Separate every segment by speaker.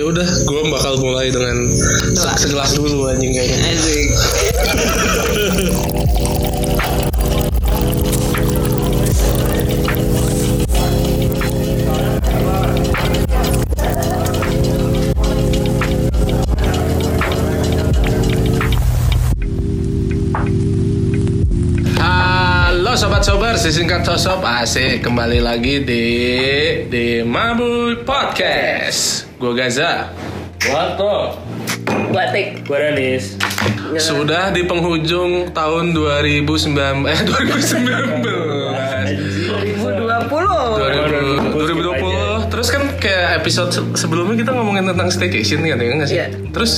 Speaker 1: Ya udah gue bakal mulai dengan
Speaker 2: Doa.
Speaker 1: segelas dulu anjing kayaknya
Speaker 2: Asik.
Speaker 1: Halo sobat sobar, singkat sosop asik kembali lagi di di Mabul Podcast. Gue Gaza.
Speaker 3: Wato,
Speaker 2: Batik.
Speaker 3: gue Danis.
Speaker 1: Sudah di penghujung tahun 2019 eh 2019. 2020,
Speaker 2: 2020.
Speaker 1: 2020. Terus kan kayak episode se- sebelumnya kita ngomongin tentang staycation kan ya nggak sih?
Speaker 2: Iya.
Speaker 1: Terus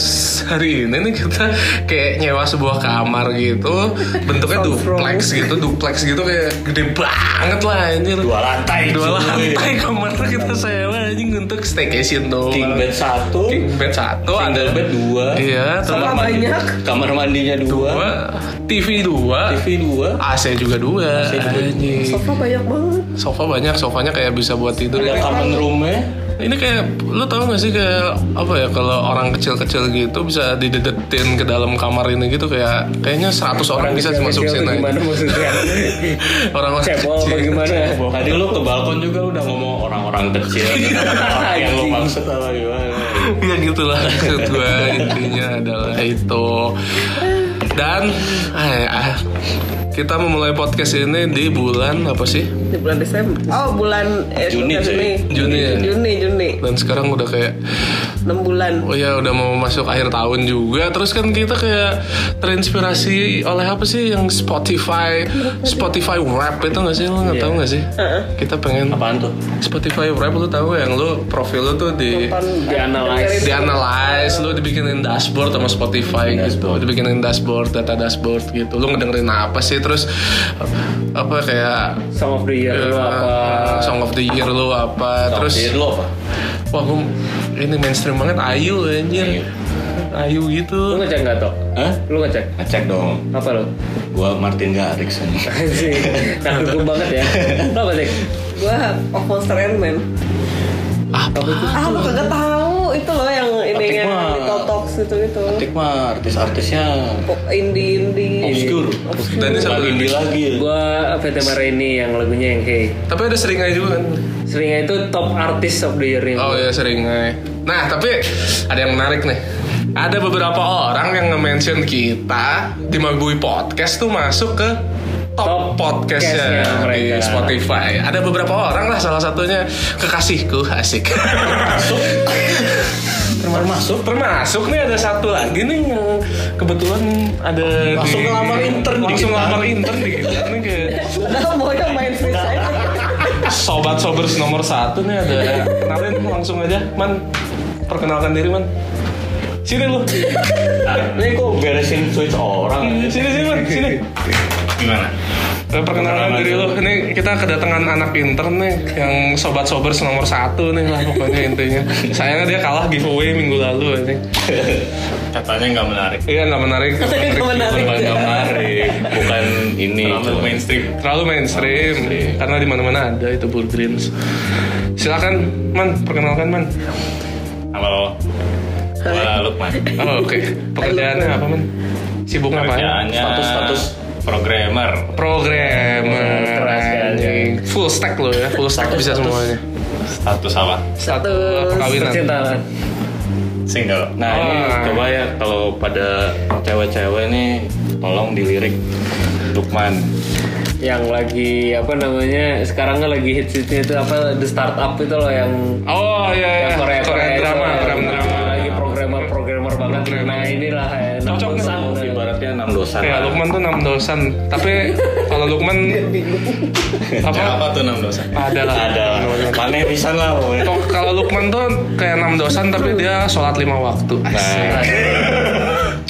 Speaker 1: hari ini nih kita kayak nyewa sebuah kamar gitu, bentuknya duplex gitu, duplex gitu kayak gede banget lah anjir.
Speaker 3: Dua lantai.
Speaker 1: dua
Speaker 3: cuy.
Speaker 1: lantai kamarnya kita sewa anjing untuk staycation doang
Speaker 3: King bed satu,
Speaker 1: king bed satu
Speaker 3: single
Speaker 1: ada
Speaker 3: bed dua,
Speaker 1: iya terus
Speaker 2: Sama
Speaker 3: mandi-
Speaker 2: banyak.
Speaker 3: kamar mandinya dua,
Speaker 1: dua TV dua
Speaker 3: TV dua,
Speaker 1: AC juga dua
Speaker 3: AC juga.
Speaker 1: anjing
Speaker 2: Sofa banyak banget.
Speaker 1: sofa banyak sofanya kayak bisa buat tidur ya.
Speaker 4: Iya.
Speaker 3: ada common roomnya.
Speaker 1: ini kayak lu tau gak sih kayak apa ya kalau orang kecil-kecil gitu bisa didedetin ke dalam kamar ini gitu kayak kayaknya 100 orang bisa masuk
Speaker 4: Kecil
Speaker 1: sini
Speaker 4: tuh Gimana
Speaker 1: aja.
Speaker 4: maksudnya?
Speaker 1: orang-orang
Speaker 4: Cebol apa
Speaker 1: kecil
Speaker 4: gimana?
Speaker 3: Eh, Tadi lu ke balkon juga udah ngomong orang-orang kecil.
Speaker 1: Iya.
Speaker 3: orang yang lu maksud apa gimana?
Speaker 1: ya gitulah maksud gue intinya adalah itu dan eh, ah, kita memulai podcast ini di bulan apa sih
Speaker 2: Di bulan Desember. Oh, bulan eh,
Speaker 3: Juni
Speaker 2: bukan
Speaker 3: sih.
Speaker 1: Juni ya?
Speaker 2: Juni, Juni.
Speaker 1: dan sekarang udah kayak
Speaker 2: 6 bulan.
Speaker 1: oh ya udah mau masuk akhir tahun juga terus kan kita kayak terinspirasi oleh apa sih yang Spotify Spotify Wrap itu nggak sih lo nggak tahu nggak sih kita pengen
Speaker 3: Apaan tuh?
Speaker 1: Spotify Wrap lu tahu yang lu profil lu tuh di
Speaker 4: Di analyze.
Speaker 1: di analyze lu dibikinin dashboard sama Spotify gitu dibikinin dashboard data dashboard gitu lu ngedengerin apa sih terus apa kayak
Speaker 4: Some of the year lu
Speaker 1: eh,
Speaker 4: apa?
Speaker 1: song of the year lu apa terus
Speaker 3: Jadi lu apa?
Speaker 1: wah gua ini mainstream banget ayu anjir ayu
Speaker 4: Lu
Speaker 1: gitu
Speaker 4: ngecek nggak toh?
Speaker 3: Hah?
Speaker 4: Lu ngecek?
Speaker 3: Ngecek dong.
Speaker 4: Apa lu?
Speaker 3: Gua Martin Garrix aja.
Speaker 4: Anjing. Nah, gue banget ya. Lu apa sih?
Speaker 2: Gua of Monster and Men.
Speaker 1: apa
Speaker 2: Ah, lu kagak tahu itu loh yang ininya
Speaker 3: mah.
Speaker 2: di Totox gitu gitu.
Speaker 3: Tik mah artis-artisnya
Speaker 2: Pop indie indie.
Speaker 3: obscure.
Speaker 1: Iya. dan ini satu
Speaker 3: Lagi
Speaker 1: lagi.
Speaker 3: indie lagi.
Speaker 4: Gue PT eh, Marini yang lagunya yang hey.
Speaker 1: tapi ada seringai juga kan
Speaker 4: Seringnya itu top artist of the year ini.
Speaker 1: oh ya seringai nah tapi ada yang menarik nih ada beberapa orang yang nge-mention kita di Mabui Podcast tuh masuk ke top,
Speaker 4: Top
Speaker 1: podcastnya
Speaker 4: podcastnya
Speaker 1: di
Speaker 4: mereka.
Speaker 1: Spotify. Ada beberapa orang lah, salah satunya kekasihku asik.
Speaker 3: Termasuk
Speaker 1: Termasuk nih ada satu lagi nih yang kebetulan ada
Speaker 3: Langsung
Speaker 1: di-
Speaker 3: ngelamar intern di
Speaker 1: langsung
Speaker 3: kita.
Speaker 1: ngelamar intern di kita nih kayak
Speaker 2: Nah, bodoh main free aja.
Speaker 1: sobat sobers nomor satu nih ada kenalin langsung aja man perkenalkan diri man sini lu
Speaker 3: Oh, Ini kok beresin switch orang.
Speaker 1: sini sini man sini
Speaker 3: Gimana?
Speaker 1: Eh, perkenalkan diri lu ini kita kedatangan anak intern nih yang sobat sobers nomor satu nih lah pokoknya intinya sayangnya dia kalah giveaway minggu lalu ini
Speaker 3: Katanya nggak menarik.
Speaker 1: iya nggak menarik nggak menarik.
Speaker 2: Menarik.
Speaker 3: Bukan nggak menarik, bukan ini. Terlalu mainstream.
Speaker 1: terlalu mainstream karena di mana-mana ada itu burgreens silakan man perkenalkan man
Speaker 5: Halo. Halo Lukman.
Speaker 1: oh, oke pekerjaannya apa man sibuk apa
Speaker 5: Kerjaannya
Speaker 3: Status-status.
Speaker 5: programmer.
Speaker 1: programmer anjing. full stack lo Oh, ya full stack bisa semuanya
Speaker 5: Status apa?
Speaker 1: satu perkawinan
Speaker 4: Percintaan.
Speaker 5: Single.
Speaker 3: Nah ini
Speaker 1: Ah.
Speaker 3: coba ya kalau pada cewek-cewek nih tolong dilirik Lukman.
Speaker 4: Yang lagi apa namanya? Sekarang kan lagi hits hitnya itu apa? The startup itu loh yang
Speaker 1: oh iya iya
Speaker 4: Yang Korea,
Speaker 1: Korea
Speaker 4: Korea,
Speaker 1: drama
Speaker 4: Korea,
Speaker 1: Korea drama
Speaker 4: lagi programmer programmer banget nah inilah ya, enam
Speaker 1: Cocok
Speaker 4: dosan.
Speaker 3: Ibaratnya enam dosa.
Speaker 1: ya Lukman tuh enam dosan tapi kalau Lukman
Speaker 5: Apa,
Speaker 1: apa
Speaker 5: apa tuh enam dosa?
Speaker 1: ada lah
Speaker 3: Ada. Mana bisa lah pokoknya.
Speaker 1: Kok kalau Lukman tuh kayak enam dosan tapi dia sholat lima waktu.
Speaker 3: Nah,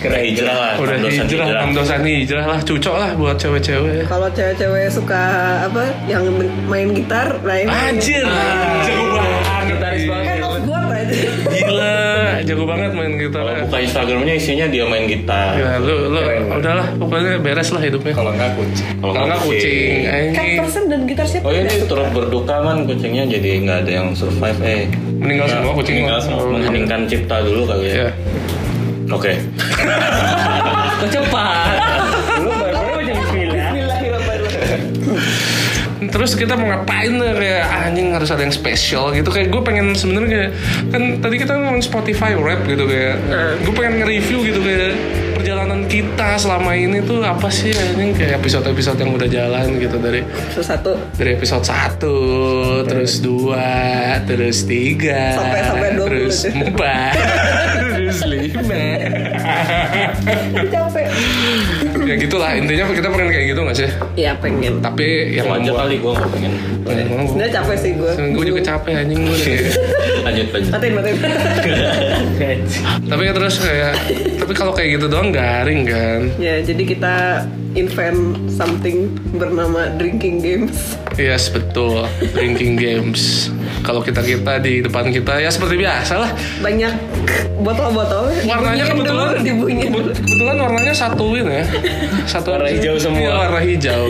Speaker 5: Kira hijrah lah.
Speaker 1: Udah
Speaker 3: enam dosan
Speaker 1: hijrah,
Speaker 3: hijrah.
Speaker 1: enam dosan hijrah lah, cocok lah buat cewek-cewek.
Speaker 2: Kalau cewek-cewek suka apa yang men- main gitar, nah ini
Speaker 1: Anjir, Ah, jago banget
Speaker 4: Gitaris banget.
Speaker 2: kan off board aja.
Speaker 1: Gila, jago banget main gitar.
Speaker 3: Kalau buka Instagramnya isinya dia main gitar.
Speaker 1: Ya, lu, lu, udahlah, pokoknya beres lah hidupnya.
Speaker 5: Kalau nggak kucing.
Speaker 1: Kalau nggak kucing, anjing.
Speaker 2: Kan person dan gitar
Speaker 1: iya,
Speaker 2: siapa?
Speaker 3: Oh ini
Speaker 2: yang nggak suka?
Speaker 3: turut berduka man kucingnya jadi nggak ada yang survive eh.
Speaker 1: Meninggal semua kucing.
Speaker 5: Meninggal semua.
Speaker 3: mengheningkan cipta dulu kali
Speaker 1: Ya.
Speaker 3: ya.
Speaker 5: Oke.
Speaker 4: Kok cepat? Lu baru baru jam 9.
Speaker 1: Terus kita mau ngapain ya? kayak ah, anjing harus ada yang spesial gitu kayak gue pengen sebenarnya kayak kan tadi kita ngomong Spotify rap gitu kayak gue pengen nge-review gitu kayak perjalanan kita selama ini tuh apa sih anjing kayak episode-episode yang udah jalan gitu dari
Speaker 2: Terus satu
Speaker 1: dari episode 1 terus 2 terus 3
Speaker 2: Sampai- sampai 20.
Speaker 1: terus 4 terus 5
Speaker 2: capek.
Speaker 1: ya gitulah intinya kita pengen kayak gitu gak sih
Speaker 2: Iya pengen.
Speaker 1: tapi yang
Speaker 3: Yang aja kali gue nggak pengen.
Speaker 2: Sebenernya capek sih gue.
Speaker 1: gue Kan juga capek anjing gue
Speaker 4: Iya.
Speaker 3: Lanjut lanjut.
Speaker 2: Matiin, matiin.
Speaker 1: tapi kan terus kayak tapi kalau kayak gitu doang garing kan
Speaker 2: ya, jadi kita invent something bernama drinking games.
Speaker 1: yes betul drinking games kalau kita kita di depan kita ya seperti biasa lah
Speaker 2: Banyak botol-botol.
Speaker 1: warnanya kan
Speaker 2: Dibunyiin dulu,
Speaker 1: kebetulan
Speaker 2: dibunyiin dulu.
Speaker 1: kebet- kebetulan warnanya satuin ya satu
Speaker 4: Warna hijau semua.
Speaker 1: Iya, warna hijau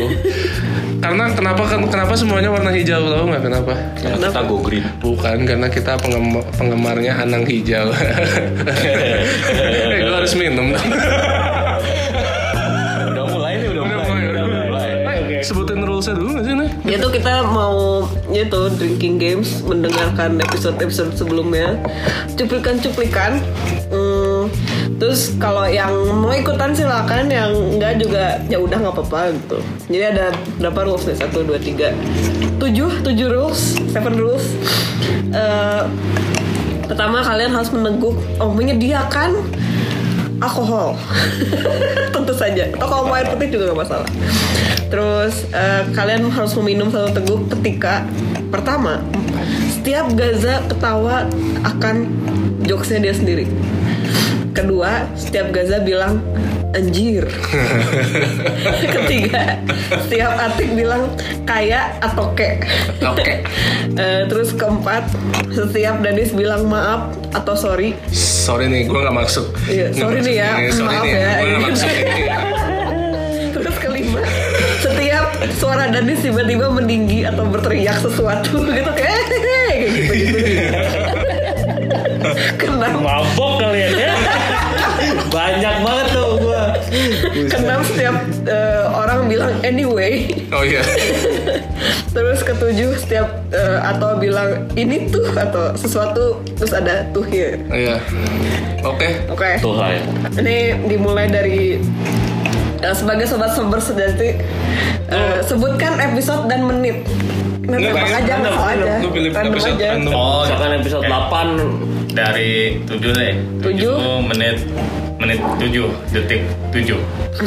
Speaker 1: karena kenapa kan kenapa semuanya warna hijau tau nggak kenapa
Speaker 3: Karena kita go green.
Speaker 1: bukan karena kita pengem- penggemarnya anang hijau eh gue harus minum dong.
Speaker 3: Udah mulai nih udah mulai. Udah mulai.
Speaker 1: Eh, sebutin rulesnya dulu nggak sih nih
Speaker 2: Itu kita mau itu drinking games mendengarkan episode-episode sebelumnya cuplikan-cuplikan Hmm, terus kalau yang mau ikutan silakan yang enggak juga ya udah nggak apa-apa gitu jadi ada berapa rules nih satu dua tiga tujuh tujuh rules seven rules Eh, pertama kalian harus meneguk oh menyediakan alkohol tentu saja atau kalau mau air putih juga gak masalah terus eh, kalian harus meminum satu teguk ketika pertama setiap Gaza ketawa akan jokesnya dia sendiri kedua setiap Gaza bilang anjir ketiga setiap Atik bilang kaya atau kek
Speaker 1: Oke.
Speaker 2: Eh, terus keempat setiap Danis bilang maaf atau sorry
Speaker 1: sorry nih gue nggak maksud
Speaker 2: Iya,
Speaker 1: Nggak
Speaker 2: sorry nih ya.
Speaker 1: maksud. Iya, sorry
Speaker 2: Maaf
Speaker 1: nih
Speaker 2: ya.
Speaker 1: gue nggak maksud ini
Speaker 2: Terus kelima, setiap suara Danis tiba-tiba meninggi atau berteriak sesuatu gitu kayak "Hehehe," kayak gitu gitu. Kenam,
Speaker 4: Mabok kalian ya. Banyak banget tuh gua.
Speaker 2: kenam setiap eh, orang bilang anyway.
Speaker 1: oh iya
Speaker 2: Terus ketujuh setiap eh, atau bilang ini tuh atau sesuatu terus ada tuh here.
Speaker 1: iya oke
Speaker 2: Oke.
Speaker 3: Tuh lah ya.
Speaker 2: Ini dimulai dari eh, sebagai sobat sumber sejati eh, sebutkan episode dan menit. Nanti
Speaker 1: Nggak, random,
Speaker 2: tembak aja
Speaker 1: random.
Speaker 2: nggak aja.
Speaker 1: Lu pilih
Speaker 2: Random
Speaker 1: episode
Speaker 2: aja.
Speaker 1: random.
Speaker 5: Oh,
Speaker 4: Misalkan episode
Speaker 5: oke.
Speaker 4: 8
Speaker 5: Dari 7 deh.
Speaker 2: Tujuh.
Speaker 5: 7 menit menit 7 detik 7.
Speaker 2: Anjing,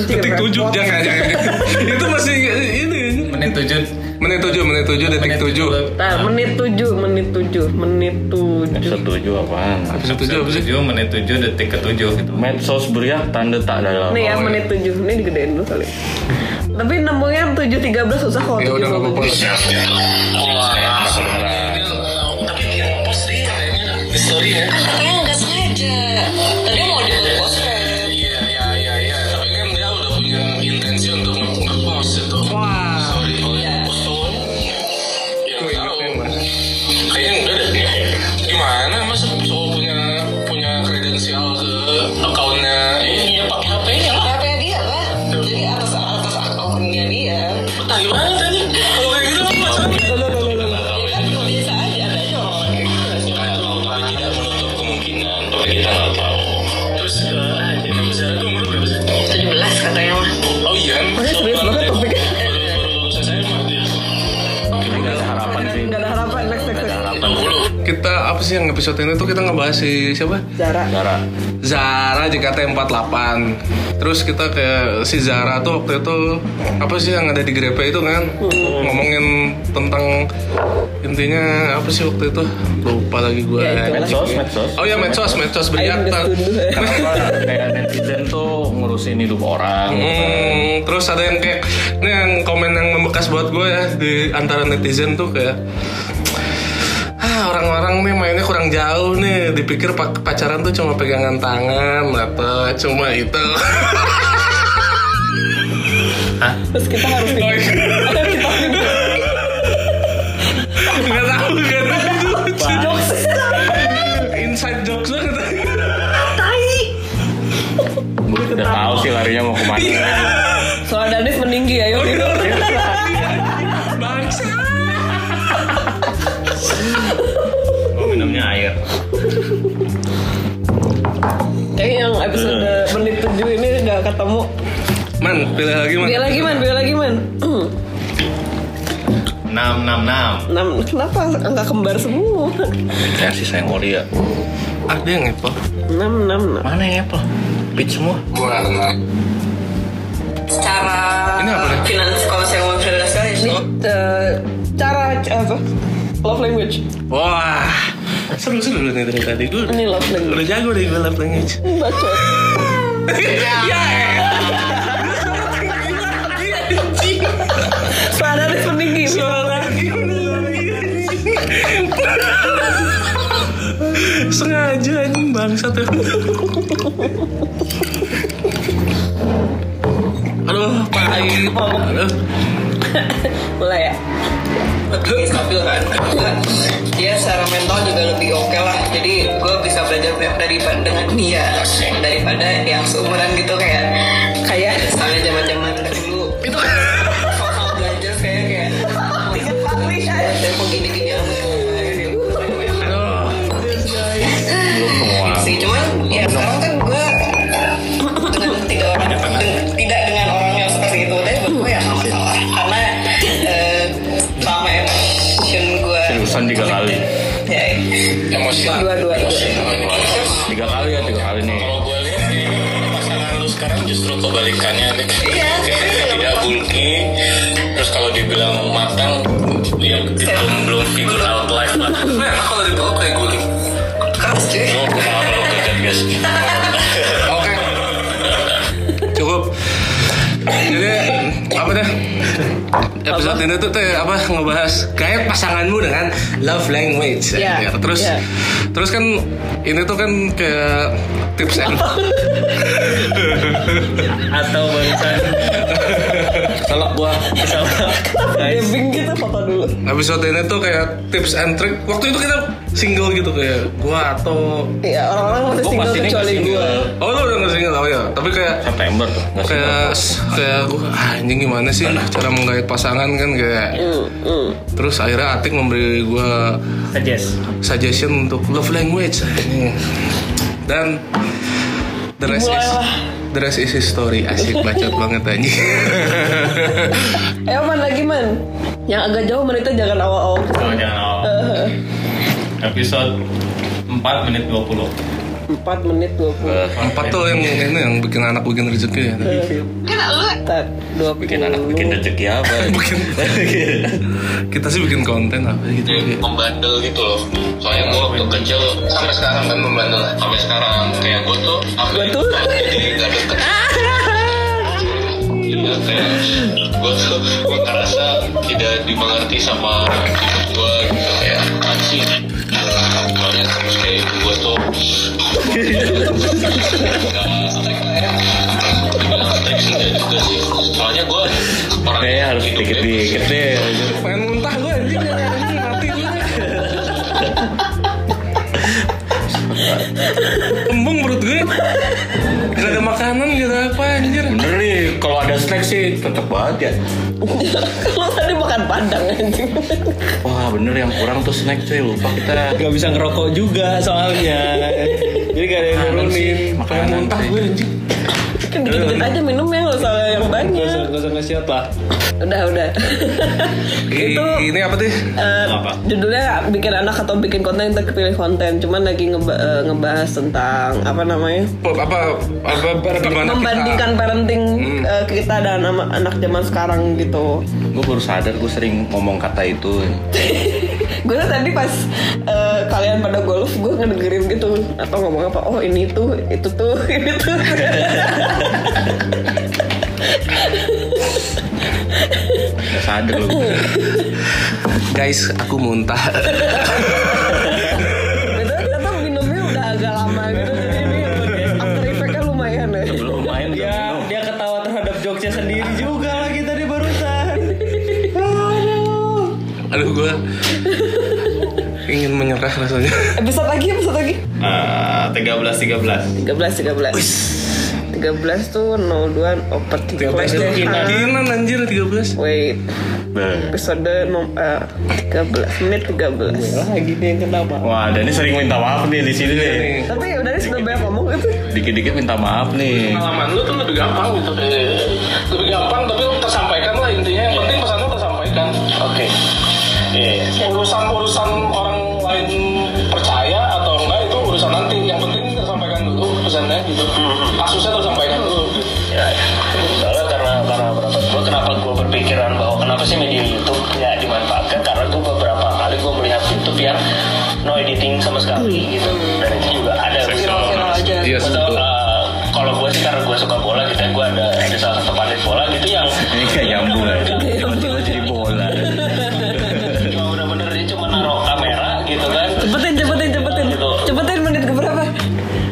Speaker 1: detik
Speaker 2: repot.
Speaker 1: tujuh jangan jangan itu masih ini
Speaker 5: Menit 7
Speaker 1: menit tujuh menit tujuh detik
Speaker 5: Menit
Speaker 1: tujuh
Speaker 2: Bentar, menit 7, menit 7, menit 7.
Speaker 3: Setuju apaan?
Speaker 1: episode tujuh apa sih
Speaker 5: 7 menit 7 detik ke 7 gitu.
Speaker 3: Medsos beriak tanda tak dalam.
Speaker 2: Nih ya,
Speaker 1: Oh,
Speaker 2: menit 7. Ini digedein dulu kali. Tapi nemunya 7.13 susah kalau
Speaker 1: ya udah nggak apa-apa
Speaker 6: gitu.
Speaker 2: 7.13.
Speaker 6: ya,
Speaker 7: Katanya nggak sengaja. Tadi mau denger podcast.
Speaker 6: Iya, kan ya
Speaker 1: Gue ingetin, Mas.
Speaker 6: kayaknya enggak deh gimana masa cowok punya punya kredensial ke akunnya ini ya pakai HP-nya lah
Speaker 7: Apa yang dia lah? Jadi atas atas akunnya dia.
Speaker 6: tai banget tadi kalau kayak gitu mah pacaran
Speaker 7: Ya kan biasa aja ada aja orang orang
Speaker 6: tapi
Speaker 7: kayak gitu.
Speaker 6: tidak menutup kemungkinan tapi kita nggak tahu terus eh, ini besar itu umur berapa sih
Speaker 7: 17 katanya mah.
Speaker 6: oh iya
Speaker 2: Maksudnya serius banget topiknya.
Speaker 6: Baru saya mah dia
Speaker 3: Harapan sih.
Speaker 2: Nggak ada harapan, next, next, next.
Speaker 1: kita apa sih yang episode ini tuh kita ngebahas si siapa
Speaker 2: Jarak.
Speaker 3: Darah.
Speaker 1: Zara JKT48 Terus kita ke si Zara tuh waktu itu Apa sih yang ada di Grepe itu kan
Speaker 2: Hmm.
Speaker 1: Ngomongin tentang Intinya apa sih waktu itu Lupa lagi gue
Speaker 2: Ya, itu.
Speaker 3: Medsos, medsos.
Speaker 1: Oh ya medsos, medsos beriak
Speaker 2: Ayo udah setuju ya.
Speaker 3: Kenapa kayak netizen tuh ngurusin hidup orang?
Speaker 1: Hmm, terus ada yang kayak ini yang komen yang membekas buat gue ya di antara netizen tuh kayak ah orang-orang nih mainnya kurang jauh nih dipikir pa- pacaran tuh cuma pegangan tangan atau cuma itu
Speaker 2: Terus kita harus pindah. Kita pindah.
Speaker 1: nggak tahu kan
Speaker 2: Jokes.
Speaker 8: air.
Speaker 2: Kayak yang episode menit 7 ini nggak ketemu.
Speaker 1: Man, pilih lagi man.
Speaker 2: Biar lagi man, biar lagi man. Hmm,
Speaker 8: 666.
Speaker 2: enam- kenapa angka kembar semua?
Speaker 8: Kasih sayang Korea.
Speaker 1: Ada yang Apple.
Speaker 2: 666.
Speaker 8: Mana yang Apple? Peach semua.
Speaker 3: Warna.
Speaker 7: Secara
Speaker 1: Ini apa nih?
Speaker 7: finans kalau saya ngomong finans ya
Speaker 2: Ini eh, cara eh, apa? Love language.
Speaker 1: Wah, seru-seru nih dari tadi. Gue
Speaker 2: Ini love language.
Speaker 1: udah jago deh gue love language.
Speaker 2: Bacot.
Speaker 1: Ya,
Speaker 2: Suara di peninggi.
Speaker 1: sengaja anjing bangsat ya. Aduh, pahit. Aduh.
Speaker 2: Mulai ya.
Speaker 7: lebih stabil kan Juga, dia secara mental juga lebih oke lah jadi gue bisa belajar banyak dari dengan dia daripada yang seumuran gitu kayak kayak misalnya zaman zaman dulu itu soal belajar saya kayak dan kok gini gini sih cuman ya sekarang kan gue dengan tidak orang tidak dengan orang yang seperti itu tapi buat gue ya
Speaker 3: Iya.
Speaker 7: nggak masalah karena eh, selama emotion gue
Speaker 8: Seriusan tiga kali.
Speaker 7: ya
Speaker 3: Emosi.
Speaker 2: Dua-dua.
Speaker 8: Tiga kali ya, tiga kali nih.
Speaker 3: Kalau gue lihat di pasangan lu sekarang justru kebalikannya nih.
Speaker 7: Iya, iya.
Speaker 3: Tidak bulky. Terus kalau dibilang matang, ya belum belum figure out life lah. Nah, kalau dipeluk kayak guling.
Speaker 7: keras cuy
Speaker 3: Gue malah peluk kejat guys.
Speaker 1: Oke. Cukup. Jadi apa deh? Episode ini tuh teh apa ngebahas kayak pasanganmu dengan love language. Ya,
Speaker 2: Iya.
Speaker 1: Terus
Speaker 2: Iya.
Speaker 1: terus kan ini tuh kan ke tips and
Speaker 4: atau barusan salah gua salah guys
Speaker 2: Debing gitu foto dulu.
Speaker 1: episode ini tuh kayak tips and trick. Waktu itu kita single gitu kayak gua atau
Speaker 2: Iya, orang-orang masih
Speaker 3: Oh,
Speaker 8: Gua
Speaker 2: single
Speaker 8: pasti ini
Speaker 2: kecuali
Speaker 8: nggak
Speaker 2: gue.
Speaker 8: single.
Speaker 1: Oh lu udah nggak single oh ya, tapi kayak
Speaker 8: September tuh. nggak sih?
Speaker 1: kayak kayak gua ah, anjing gimana sih cara menggait pasangan kan kayak terus akhirnya Atik memberi gua
Speaker 4: suggest
Speaker 1: suggestion untuk love language ini. dan the rest is the rest is history asik bacot banget anjing
Speaker 2: Eh, man lagi man. Yang agak jauh menitnya jangan awal-awal.
Speaker 8: Oh, jangan awal. Episode 4 menit 20
Speaker 2: 4 menit 20.
Speaker 1: empat tuh yang ini yang bikin anak bikin rezeki ya
Speaker 2: Tat, 20.
Speaker 8: Bikin anak bikin rezeki apa
Speaker 1: bikin kita sih bikin konten apa gitu
Speaker 3: Jadi membandel gitu loh. Soalnya gue waktu kecil sampai sekarang kan membandel. Sampai sekarang kayak gue tuh. Gue
Speaker 2: tuh?
Speaker 3: Jadi gak deket. Iya kayak gue tuh gue ngerasa tidak dimengerti sama hidup gue gitu kayak apaan sih banyak terus kayak ibu gue tuh nggak nggak juga sih soalnya gue orang
Speaker 8: Kayaknya harus dikit-dikit deh
Speaker 1: pengen muntah gue anjing anjing, mati gue kembung perut gue gak ada makanan gak ada apa anjir
Speaker 8: Bener nih, kalau ada snack sih tetep banget ya
Speaker 2: Lu tadi makan padang anjing.
Speaker 8: Wah bener yang kurang tuh snack cuy, lupa kita
Speaker 4: nggak bisa ngerokok juga soalnya jadi gak ada yang nurunin
Speaker 1: pengen
Speaker 8: Makanan
Speaker 1: muntah
Speaker 8: sih.
Speaker 1: gue anjing
Speaker 2: Kan dikit-dikit aja minumnya nggak usah yang
Speaker 4: Gak
Speaker 2: banyak.
Speaker 4: usah- gak usah nge-shoot lah
Speaker 2: Udah, udah.
Speaker 1: Ih,
Speaker 2: Itu
Speaker 1: ini apa sih
Speaker 2: Eh,
Speaker 8: Apa?
Speaker 2: judulnya bikin anak atau bikin konten kita pilih konten cuman lagi ngeba- eh, ngebahas tentang apa namanya
Speaker 1: apa apa apa bagaimana
Speaker 2: membandingkan parenting eh, kita dan ama- anak zaman sekarang gitu
Speaker 8: Gue baru sadar gue sering ngomong kata itu
Speaker 2: gue tadi pas eh, kalian pada golf gue ngedengerin gitu atau ngomong apa oh ini tuh itu tuh ini tuh Gitu,
Speaker 8: Gak sadar loh
Speaker 1: kita guys aku muntah
Speaker 2: Betul, kita tuh minumnya udah agak lama gitu jadi ini after effect-nya lumayan ya
Speaker 8: Lumayan
Speaker 4: dia dia ketawa terhadap jokesnya sendiri juga lagi tadi barusan
Speaker 1: aduh gue ingin menyerah rasanya
Speaker 9: Eh,
Speaker 2: episode lagi episode lagi
Speaker 8: Ah, 13 13
Speaker 2: 13 13 13 13 tuh oh, 02 oper 13
Speaker 1: 13 tuh
Speaker 2: deh.
Speaker 1: kinan anjir 13
Speaker 2: Ah, Wait, episode nom eh, 13 menit 13.
Speaker 4: lagi nih yang kenapa
Speaker 3: Wah, Dani sering minta maaf nih di sini nih.
Speaker 2: Tapi ya udah nih sudah banyak ngomong itu.
Speaker 3: Dikit-dikit minta maaf nih.
Speaker 6: pengalaman lu tuh lebih gampang gitu lebih gampang tapi lu tersampaikan lah intinya yang penting pesan lu tersampaikan Iya, oke urusan urusan orang lain percaya atau enggak itu urusan nanti yang penting tersampaikan dulu pesannya gitu kasusnya tersampaikan dulu gitu.
Speaker 9: ya, ya. soalnya karena karena berapa gue kenapa gue berpikiran bahwa kenapa sih media YouTube ya dimanfaatkan karena gue beberapa kali gue melihat YouTube yang no editing sama sekali gitu dan itu juga ada
Speaker 2: Hmm. Viral-viral aja.
Speaker 1: Iya,
Speaker 9: Betul,
Speaker 1: betul.
Speaker 9: eh, kalau gue sih karena gue suka bola gitu gue ada ada salah satu pandit bola gitu yang
Speaker 3: Ini kayak nyambung ya. Tiba-tiba jadi bola.
Speaker 9: cuma bener-bener dia cuma naruh kamera gitu kan
Speaker 2: Cepetin, cepetin, cepetin. Cepetin menit ke berapa?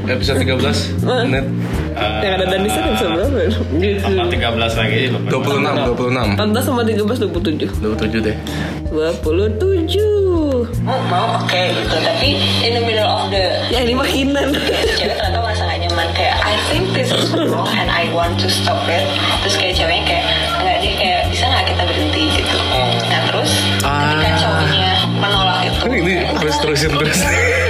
Speaker 1: episode 13
Speaker 2: Hah?
Speaker 1: menit
Speaker 2: Yang ada Dani sana bisa berapa? ya? Gitu.
Speaker 5: Apa 13 lagi?
Speaker 1: 26
Speaker 2: 14 sama 13 27.
Speaker 1: 27 deh
Speaker 2: 27.
Speaker 7: mau mau oke gitu tapi in the middle of the
Speaker 2: Ya ini makinan.
Speaker 7: cewek Iya, ternyata merasa gak nyaman kayak I think this is wrong and I want to stop it terus kayak ceweknya kayak nggak deh kayak bisa nggak kita berhenti gitu
Speaker 1: Oh.
Speaker 7: nah terus ketika cowoknya menolak itu
Speaker 1: Ah. ini terus terusin terus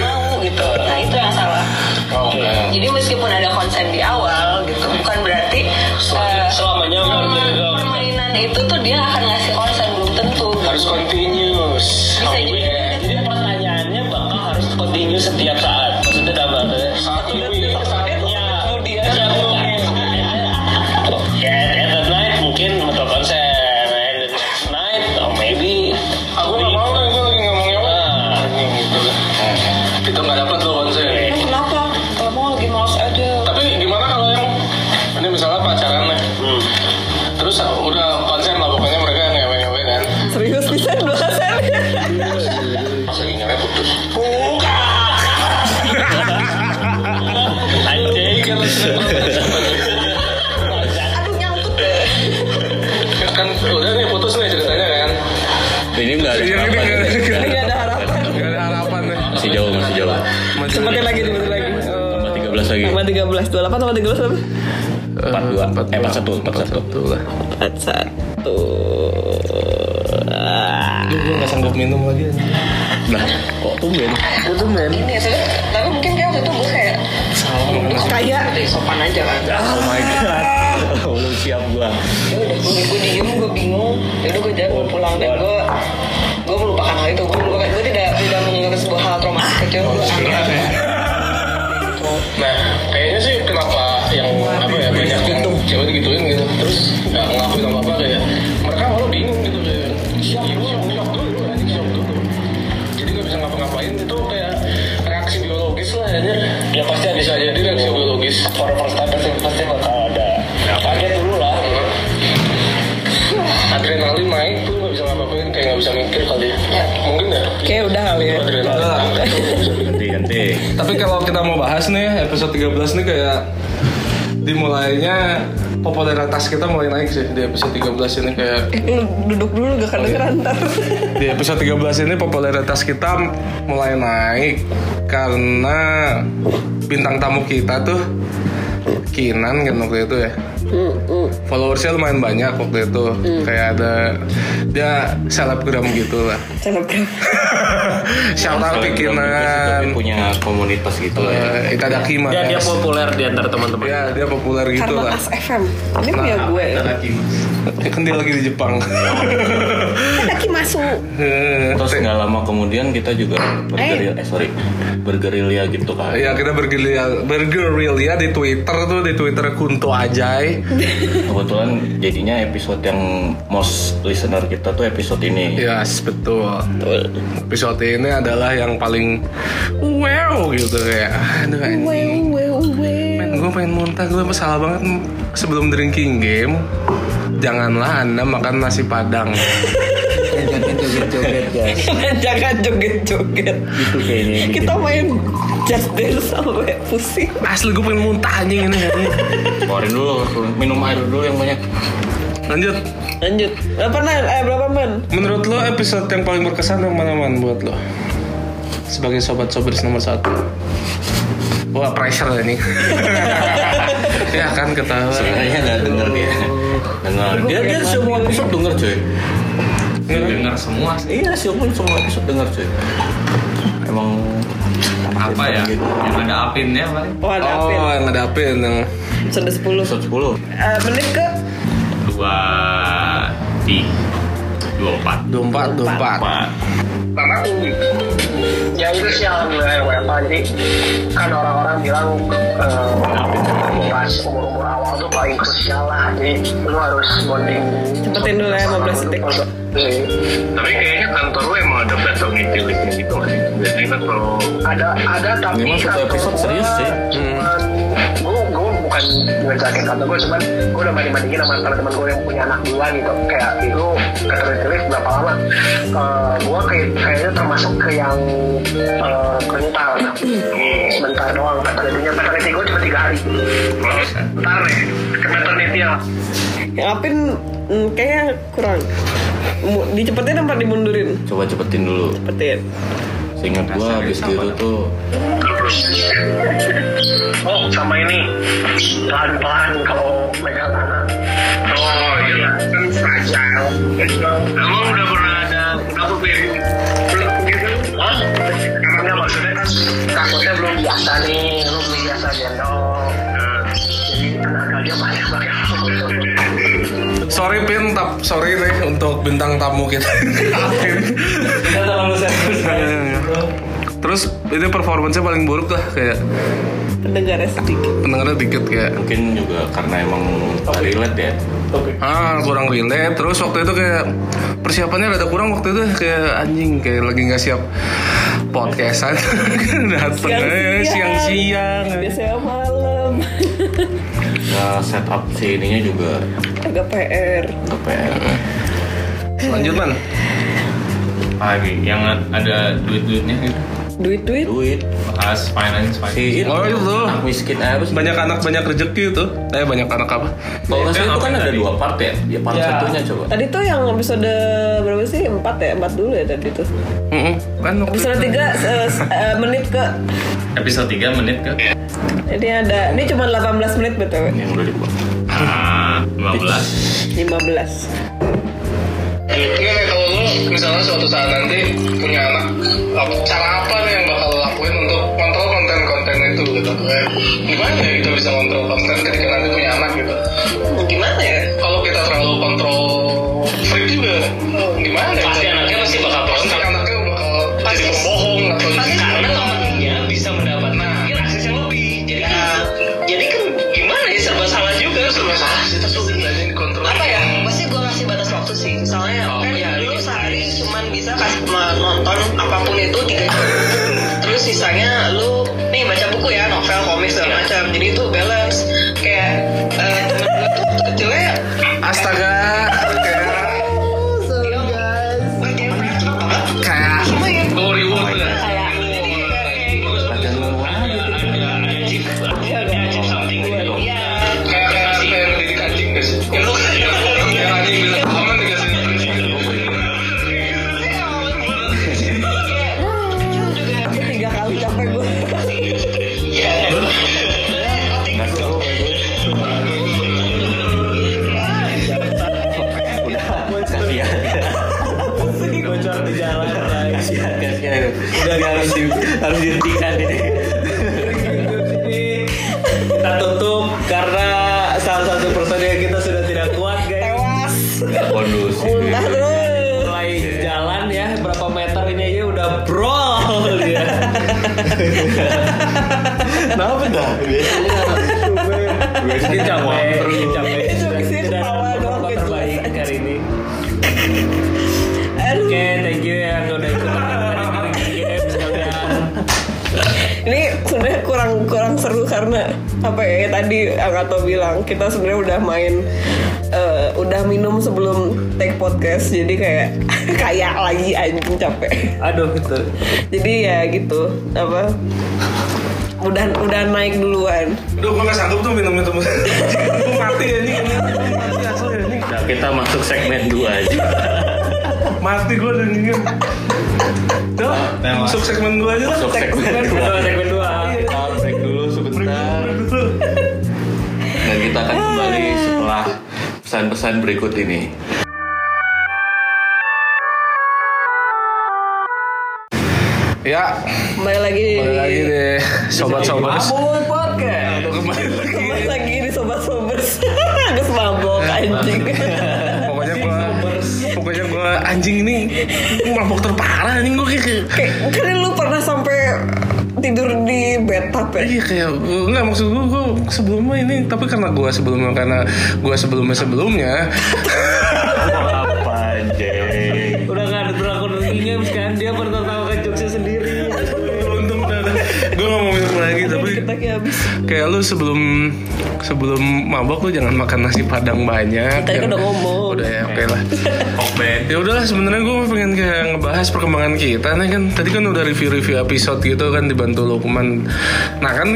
Speaker 7: mau gitu nah itu yang salah
Speaker 9: Oh,
Speaker 7: jadi meskipun ada konsen di awal gitu bukan berarti eh,
Speaker 9: selamanya
Speaker 7: perma- permainan itu tuh dia akan ngasih konsen belum tentu
Speaker 9: harus continuous
Speaker 7: Bisa jadi.
Speaker 9: jadi pertanyaannya bakal harus continuous setiap saat maksudnya dalam artinya satu minggu saatnya kemudian ya at that night mungkin untuk konser and the next night or maybe
Speaker 6: aku nggak mau kan gue lagi ngomongnya gitu itu nggak dapat loh konsep
Speaker 7: Lu kenapa kamu lagi males aja
Speaker 6: Tapi gimana kalau yang ini misalnya pacaran nih,
Speaker 3: Hmm.
Speaker 6: terus udah konsen lah pokoknya mereka ngewe-ngewe kan,
Speaker 2: Serius bisa dua sen.
Speaker 6: pas lagi ngewe putus. gitu.
Speaker 7: aduh nyangkut deh
Speaker 6: Kan udah nih putus nih ceritanya kan.
Speaker 3: Ini enggak ada
Speaker 1: Yang Iya, ini
Speaker 3: harapan.
Speaker 1: nggak-
Speaker 2: Ini Iya, ada harapan.
Speaker 1: nggak ada harapan nih
Speaker 3: Masih jauh, masih jauh.
Speaker 1: Masih-
Speaker 2: Cepetin lagi, cepetin lagi. Oh.
Speaker 3: Tambah 13 lagi.
Speaker 2: Sama 13, 28 sama 13 apa?
Speaker 3: 42. Eh, 41, 41.
Speaker 1: 41 lah
Speaker 2: 41.
Speaker 1: gue nggak sanggup minum lagi
Speaker 3: Nah, kok tumben?
Speaker 2: Itu men.
Speaker 7: ini ya tapi mungkin kayak waktu itu gue kayak
Speaker 6: Oh,
Speaker 2: Kayak
Speaker 7: Udah sopan aja kan
Speaker 3: Oh my god. Belum siap gua.
Speaker 7: ya udah gue gue diem gue bingung ya udah gue jalan gue pulang dan gue gue melupakan hal itu gue melupakan gue tidak tidak mengingat sebuah hal traumatik kecil gue anggap
Speaker 6: Nah, kayaknya sih kenapa yang apa ya banyak yang cewek digituin gitu, terus nggak ngelakuin apa apa kayak mereka malu bingung gitu kayak shock dulu, shock dulu, anjing, shock dulu. Jadi nggak bisa ngapa-ngapain itu kayak reaksi biologis lah ya. Ya pasti bisa jadi reaksi biologis.
Speaker 9: for the first time pasti pasti bakal ada kaget dulu lah
Speaker 6: adrenalin naik tuh nggak bisa ngapain kayak nggak bisa mikir kali mungkin ya
Speaker 2: kayak udah kali ya.
Speaker 6: adrenalin naik.
Speaker 3: Ganti, ganti.
Speaker 1: tapi kalau kita mau bahas nih episode 13 nih kayak dimulainya popularitas kita mulai naik sih di episode 13 ini kayak
Speaker 2: Duduk dulu gak kedengeran ntar.
Speaker 1: di episode 13 ini popularitas kita mulai naik karena bintang tamu kita tuh Kinan kan waktu itu ya followersnya lumayan banyak waktu itu kayak ada dia selebgram gitu lah
Speaker 2: Selebgram.
Speaker 1: shout out ke
Speaker 3: Tapi
Speaker 1: Kinan
Speaker 3: punya komunitas gitu lah ya.
Speaker 1: Eh, Itadaki Mas
Speaker 4: dia populer di antara teman-teman
Speaker 1: ya dia populer gitu
Speaker 2: Karena
Speaker 1: lah Nah.
Speaker 2: As FM. Ini punya gue.
Speaker 1: kan dia lagi di Jepang
Speaker 2: Kaki masuk.
Speaker 3: Terus nggak lama kemudian kita juga bergerilya, eh sorry, bergerilya gitu kan.
Speaker 1: ya kita bergerilya bergerilya di Twitter tuh di Twitter Kunto Ajay
Speaker 3: Kebetulan jadinya episode yang most listener kita tuh episode ini.
Speaker 1: Yes, betul. Episode ini adalah yang paling wow gitu kayak. Aduh anjing.
Speaker 2: Wow, wow.
Speaker 1: Men, gue pengen muntah, gue masalah banget sebelum drinking game. Janganlah Anda makan nasi padang.
Speaker 4: joget-joget guys
Speaker 2: Jangan joget-joget.
Speaker 1: Gitu
Speaker 4: itu kayaknya yang bikin
Speaker 2: Kita main just dance sampai pusing.
Speaker 1: Asli gue pengen muntah anjing ini. anjing.
Speaker 3: Keluarin dulu, minum air dulu yang banyak.
Speaker 1: Lanjut.
Speaker 2: Lanjut. Berapa men? Eh berapa men?
Speaker 1: Menurut lo episode yang paling berkesan yang mana man buat lo? Sebagai sobat sobris nomor satu. Wah pressure ini. ya kan ketawa
Speaker 3: Sebenarnya nggak denger dia. Dengar. Dia dia semua episode denger cuy.
Speaker 5: Dengar semua sih.
Speaker 3: Iya semua semua episode denger cuy. Emang
Speaker 5: Apa ya?
Speaker 3: Gitu.
Speaker 5: Yang ada apinnya paling.
Speaker 2: Oh, ada
Speaker 1: oh
Speaker 2: Apin.
Speaker 1: yang ada Apin yang
Speaker 2: Episode 10.
Speaker 3: Episode 10
Speaker 2: Eh, menit ke
Speaker 5: Dua, tiga, dua, empat.
Speaker 1: dompat dompat
Speaker 5: Empat.
Speaker 9: ya itu sih alhamdulillah WFH jadi kan orang-orang bilang eh, pas umur-umur awal tuh paling krusial lah jadi lu harus bonding
Speaker 2: Cepetin dulu ya, 15 detik.
Speaker 10: Tapi kayaknya kantor lu emang ada battle netilisnya gitu nggak sih? Biasanya kan kalau
Speaker 9: ada ada tapi
Speaker 3: Memang satu
Speaker 9: kantor
Speaker 3: episode
Speaker 9: gua
Speaker 3: serius sih.
Speaker 9: cuman gue gue bukan ngejakin kantor gue cuman gue udah banding bandingin sama teman-teman gue yang punya anak dua gitu kayak itu ketelit-telit berapa lama gue kayak kayaknya termasuk ke yang eh, kental sebentar doang ketelitinya keteliti gue cuma tiga hari ntar deh ke maternity ya
Speaker 2: Yang Apin mm, kayaknya kurang. Mu- Dicepetin apa dimundurin?
Speaker 3: Coba cepetin dulu
Speaker 2: Cepetin.
Speaker 3: Seingat gua habis itu tuh
Speaker 9: oh sama ini pelan-pelan kalau megang anak
Speaker 10: oh iya kan fragile. Emang udah pernah ada kenapa Pin? Belum gitu?
Speaker 9: Hah? Emangnya maksudnya kan takutnya belum biasa nih, lu belum biasa gendong. Jadi tenaga dia banyak banget.
Speaker 1: sorry Pin tap sorry nih untuk bintang tamu kita Apin terus ini performance-nya paling buruk lah kayak
Speaker 2: Pendengarnya ya, sedikit.
Speaker 1: pendengarnya dikit kayak
Speaker 3: mungkin juga karena emang nggak relate ya
Speaker 1: ah kurang relate terus waktu itu kayak persiapannya rada kurang waktu itu kayak anjing kayak lagi nggak siap podcastan Kan dateng aja siang-siang
Speaker 2: Biasanya malam.
Speaker 3: Nah, setup si ininya juga ya?
Speaker 2: Agak PR.
Speaker 3: ke PR
Speaker 1: lanjut man
Speaker 5: Apa lagi? Yang ada duit-duitnya gitu.
Speaker 2: Duit-duit.
Speaker 3: duit
Speaker 5: As finance, finance.
Speaker 3: si itu
Speaker 1: Oh, itu.
Speaker 3: anak miskin eh, apa sih
Speaker 1: banyak anak banyak rezeki tuh eh banyak anak apa
Speaker 3: kalau nggak salah itu kan
Speaker 5: Yang Iya,
Speaker 3: ada
Speaker 5: tadi. Iya.
Speaker 3: dua part ya ya part
Speaker 4: Ya.
Speaker 3: satunya coba
Speaker 2: Tadi tuh yang episode berapa sih? 4 ya? 4 dulu ya tadi tuh.
Speaker 1: Mm-mm. kan waktu
Speaker 2: Episode 3 eh, menit ke
Speaker 5: Episode 3 menit ke
Speaker 2: ini ada ini cuma 18 menit btw
Speaker 3: yang udah dibuat
Speaker 5: ah, 15
Speaker 2: 15
Speaker 10: Iya nih kalau lu misalnya suatu saat nanti punya anak, apa- cara apa nih yang bakal lu lakuin untuk kontrol konten-konten itu gitu? Kayak, Gimana ya kita bisa kontrol konten ketika nanti punya anak gitu? Gimana ya? Kalau kita terlalu kontrol freak juga, gimana? ya?
Speaker 9: Pasti anaknya pasti bakal
Speaker 10: Pasti
Speaker 9: bosan.
Speaker 10: anaknya bakal jadi pembohong atau jadi-
Speaker 9: temannya bisa mendapatkan akses yang lebih. Jadi jadi kan gimana ya serba salah juga.
Speaker 10: Serba salah sih, tapi belajarin kontrol.
Speaker 11: apa ya pasti gue ngasih batas waktu sih misalnya
Speaker 9: Oh,
Speaker 11: kan
Speaker 9: iya,
Speaker 11: dulu
Speaker 9: iya.
Speaker 11: sehari cuman bisa pas nonton apapun itu tiga jam terus sisanya lu nih baca buku ya novel komik segala macam jadi itu balance kayak eh, temen gue tuh waktu kecilnya
Speaker 1: astaga kayak
Speaker 11: dia practical banget
Speaker 1: kayak
Speaker 11: cuma ya
Speaker 10: Oh, reward ya?
Speaker 11: kayak Iya, udah. Iya.
Speaker 10: Kayak kayak kayak didik anjing gak sih? Yang anjing bilang aman dikasih
Speaker 2: tiga kali capek gue
Speaker 3: kasihan bocor di jalan kasihan kasihan udah nggak harus di harus dihentikan ini
Speaker 4: Kita tutup karena salah satu personil kita sudah tidak kuat guys.
Speaker 2: tewas
Speaker 3: nggak kondusif
Speaker 1: Iya.
Speaker 2: muntah terus
Speaker 4: Mulai jalan ya berapa meter ini aja udah brol ya. dia.
Speaker 3: kenapa dah biasanya
Speaker 4: Ini capek, capek.
Speaker 2: Cuma kesini
Speaker 4: Dan
Speaker 2: ketawa doang,
Speaker 4: performa
Speaker 2: kejelasan.
Speaker 4: terbaik hari ini.
Speaker 2: aduh
Speaker 4: Oke, thank you ya udah ikut Hari ini games kalian.
Speaker 2: ini sebenarnya kurang kurang seru karena apa ya tadi Angato bilang kita sebenarnya udah main eh, udah minum sebelum take podcast jadi kayak kayak lagi anjing capek
Speaker 4: Aduh, gitu.
Speaker 2: jadi ya gitu apa udah udah naik duluan
Speaker 1: Aduh, gue gak sanggup tuh minum itu. Gue mati ya ini, ini gua mati asli ya ini.
Speaker 3: Nah, kita masuk segmen 2 aja
Speaker 1: Mati gue dan ini. Udah, masuk segmen gue aja lah.
Speaker 3: masuk segmen
Speaker 4: Kedua, segmen dua.
Speaker 3: Kita break dulu sebentar. pesan-pesan berikut ini.
Speaker 1: Ya,
Speaker 2: kembali lagi
Speaker 1: kembali lagi deh sobat-sobat.
Speaker 2: Mabul podcast
Speaker 1: Kembali lagi.
Speaker 2: kembali lagi di sobat sobers agus mabok anjing
Speaker 1: Pokoknya gua pokoknya gua anjing ini mabok terparah anjing gua kayak kayak-
Speaker 2: kayak kan lu pernah sampai tidur di bathtub ya
Speaker 1: Iya kayak gua- nggak maksud gue gue sebelumnya ini tapi karena gue sebelumnya karena gue sebelumnya sebelumnya
Speaker 3: Apa anjing?
Speaker 4: Udah gak ada drakor drinking games kan Dia pertama-tama jokesnya sendiri
Speaker 1: untung gue nggak mau minum lagi tapi
Speaker 2: Otaknya habis
Speaker 1: kayak lu sebelum sebelum mabok lu jangan makan nasi padang banyak.
Speaker 2: Tadi kan
Speaker 1: Jangan-
Speaker 2: udah ngomong.
Speaker 1: Udah ya oke lah. Ya udahlah sebenarnya gue pengen kayak ngebahas perkembangan kita nih kan tadi kan udah review-review episode gitu kan dibantu Lukman. Nah kan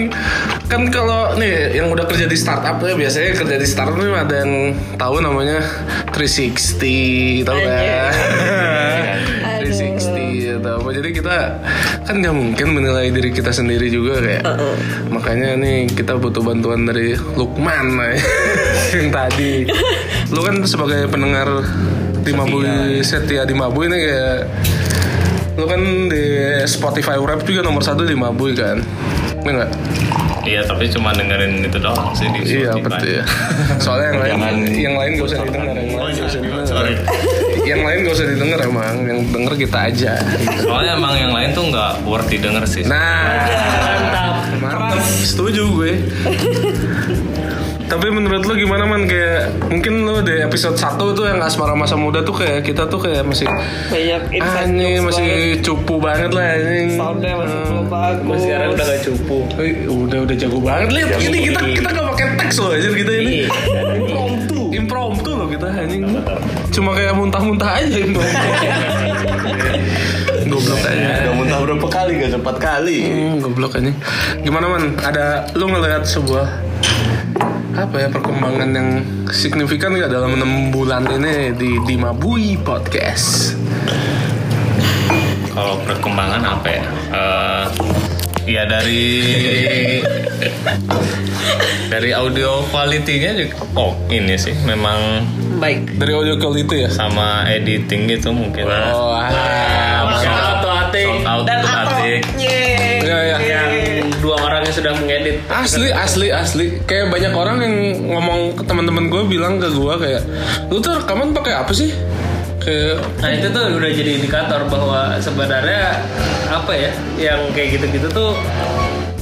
Speaker 1: kan kalau nih yang udah kerja di startup ya biasanya kerja di startup nih ada yang tahu namanya 360 tahu kan? 360 atau apa jadi kita kan nggak mungkin menilai diri kita sendiri juga kayak
Speaker 2: eh,
Speaker 1: makanya nih kita butuh bantuan dari Lukman nah, yang tadi lu kan sebagai pendengar di
Speaker 5: ya.
Speaker 1: Mabui setia di Mabui nih kayak lu kan di Spotify Rap juga nomor satu di Mabui kan Iya nggak?
Speaker 5: Iya tapi cuma dengerin itu doang sih di
Speaker 1: Iya
Speaker 5: Spotify.
Speaker 1: betul ya. Soalnya yang lain yang lain gak usah didengar yang
Speaker 5: Oh,
Speaker 1: lain
Speaker 5: iya.
Speaker 1: gak usah didengar. Yang lain gak usah didengar emang, yang denger kita aja.
Speaker 5: Soalnya emang yang lain tuh nggak worth didengar sih.
Speaker 1: Nah, Mantap, setuju gue. Tapi menurut lu gimana man kayak mungkin lu di episode 1 tuh yang asmara masa muda tuh kayak kita tuh kayak masih
Speaker 2: banyak
Speaker 1: ah
Speaker 2: insight
Speaker 1: ini
Speaker 2: jokes banget.
Speaker 1: masih Hmm. cupu banget lah ini. Ah.
Speaker 2: soundnya masih belum bagus
Speaker 4: Sekarang udah gak cupu
Speaker 1: udah udah jago banget lihat ini kita kita nggak pakai teks loh anjir kita ini impromptu impromptu loh kita anjing cuma kayak muntah-muntah aja impromptu goblok aja
Speaker 3: Udah muntah berapa kali? Gak sempat kali.
Speaker 1: Hmm, goblok aja. Gimana man? Ada lu ngelihat sebuah apa ya perkembangan yang signifikan nggak dalam enam bulan ini di di Mabui Podcast?
Speaker 5: Kalau perkembangan apa ya? Eh, ya dari dari audio quality-nya juga oh ini sih memang
Speaker 2: baik
Speaker 1: Dari audio quality ya?
Speaker 5: sama editing gitu mungkin.
Speaker 1: Oh, ah,
Speaker 4: Shout out to Atik
Speaker 5: Sound out
Speaker 2: dan
Speaker 5: tuh
Speaker 2: atau
Speaker 5: Atik.
Speaker 2: Yeay.
Speaker 1: Ya, ya.
Speaker 4: Yang dua orang yang sudah mengedit
Speaker 1: Asli, asli, asli. Kayak banyak orang yang ngomong ke teman-teman gue bilang ke gue kayak, lu tuh rekaman pakai apa sih? Kayak
Speaker 4: Nah itu tuh udah jadi indikator bahwa sebenarnya apa ya yang kayak gitu-gitu tuh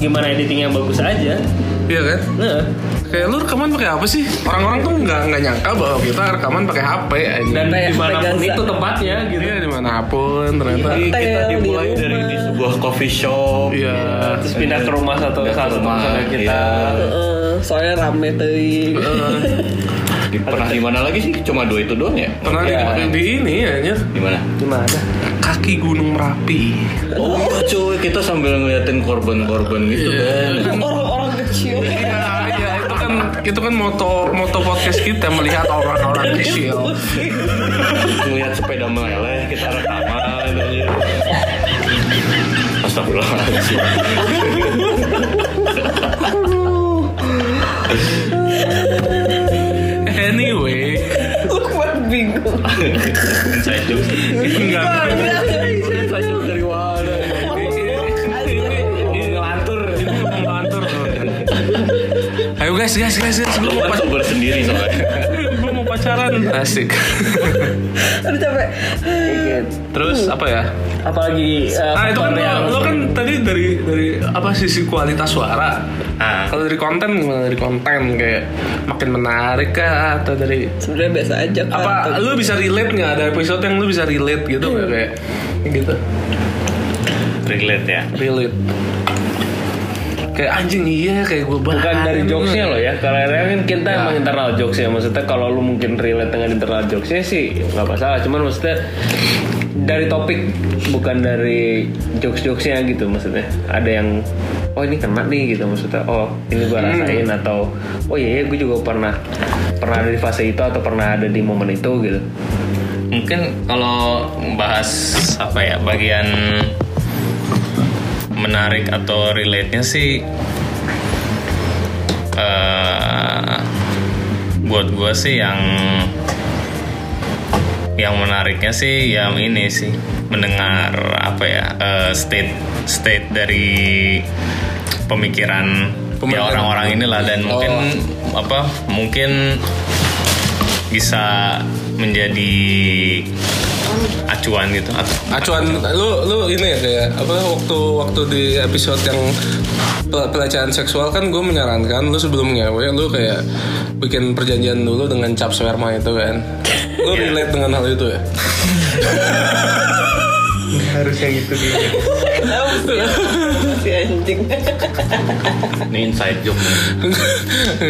Speaker 4: gimana editing yang bagus aja.
Speaker 1: Iya kan?
Speaker 4: Nah,
Speaker 1: Kayak lu rekaman pakai apa sih? Orang-orang tuh nggak nggak nyangka bahwa kita rekaman pakai HP. anjing.
Speaker 4: dan
Speaker 2: Kayak
Speaker 4: dimanapun
Speaker 2: Pegasus.
Speaker 4: itu tempatnya gitu.
Speaker 1: Iya dimanapun ternyata.
Speaker 2: Hotel,
Speaker 3: Kita
Speaker 2: di
Speaker 3: dimulai dari
Speaker 2: rumah.
Speaker 3: di sebuah coffee shop.
Speaker 1: Iya.
Speaker 4: Terus pindah ke rumah satu
Speaker 3: Pindah ke
Speaker 4: satu
Speaker 3: rumah,
Speaker 4: teman kita.
Speaker 3: iya.
Speaker 2: Heeh, Eh, soalnya rame tuh
Speaker 1: Eh.
Speaker 3: Di- Pernah di mana lagi sih? Cuma dua itu doang ya?
Speaker 1: Pernah di- di, ini ya, Nyir?
Speaker 3: Di mana?
Speaker 4: Gimana?
Speaker 1: kaki Gunung Merapi.
Speaker 3: Oh iya cuy, kita sambil ngeliatin korban-korban gitu kan.
Speaker 2: orang-orang kecil
Speaker 1: Iya, itu kan itu kan moto moto podcast kita melihat orang-orang kecil.
Speaker 3: Ngeliat sepeda meleleh, kita rekaman. anjir. Astagfirullahaladzim.
Speaker 1: Anyway,
Speaker 2: lu kuat bingung
Speaker 5: Inside jokes.
Speaker 4: Iya.
Speaker 1: enggak. iya.
Speaker 4: dari mana? Iya, Ngelantur.
Speaker 1: Ayo guys, guys, guys, guys, gue mau
Speaker 3: Kan
Speaker 1: pacaran.
Speaker 3: sober sendiri soalnya.
Speaker 1: Gue mau pacaran. Asik.
Speaker 2: aduh capek
Speaker 1: Terus apa ya?
Speaker 4: Apalagi eh,
Speaker 1: Ah itu kan
Speaker 4: faktor yang
Speaker 1: lo, lo kan tadi dari dari apa sisi kualitas suara.
Speaker 5: Ah.
Speaker 4: Nah.
Speaker 1: Kalau dari konten gimana dari konten kayak makin menarik kah atau dari
Speaker 2: sebenarnya biasa aja
Speaker 4: Nah,
Speaker 2: kan
Speaker 1: apa lu bisa relate nggak ada episode yang lu bisa relate gitu nggak
Speaker 4: Iya.
Speaker 1: kayak gitu
Speaker 5: Relate ya.
Speaker 1: relate kayak anjing iya kayak gue banget
Speaker 4: Bukan dari jokesnya loh ya, karena kan kita emang internal jokes ya Maksudnya kalau lu mungkin relate dengan internal jokesnya sih nggak masalah Cuman maksudnya dari topik bukan dari jokes-jokesnya gitu maksudnya Ada yang oh ini kena nih gitu maksudnya Oh ini gua rasain atau oh iya, iya gue juga pernah pernah ada di fase itu atau pernah ada di momen itu gitu
Speaker 5: Mungkin kalau bahas apa ya bagian menarik atau relate-nya sih eh buat gue sih yang yang menariknya sih yang ini sih mendengar apa ya eh, state state dari pemikiran ya orang-orang inilah dan
Speaker 1: Oh.
Speaker 5: mungkin apa mungkin bisa menjadi acuan gitu atau
Speaker 1: acuan lu lu ini ya kayak apa waktu waktu di episode yang pel- pelecehan seksual kan gue menyarankan lu sebelum ngewe lu kayak bikin perjanjian dulu dengan cap sperma itu kan lu relate dengan hal itu ya
Speaker 4: harusnya gitu gitu
Speaker 2: Tahu sih, si anjing.
Speaker 5: ini inside joke nih.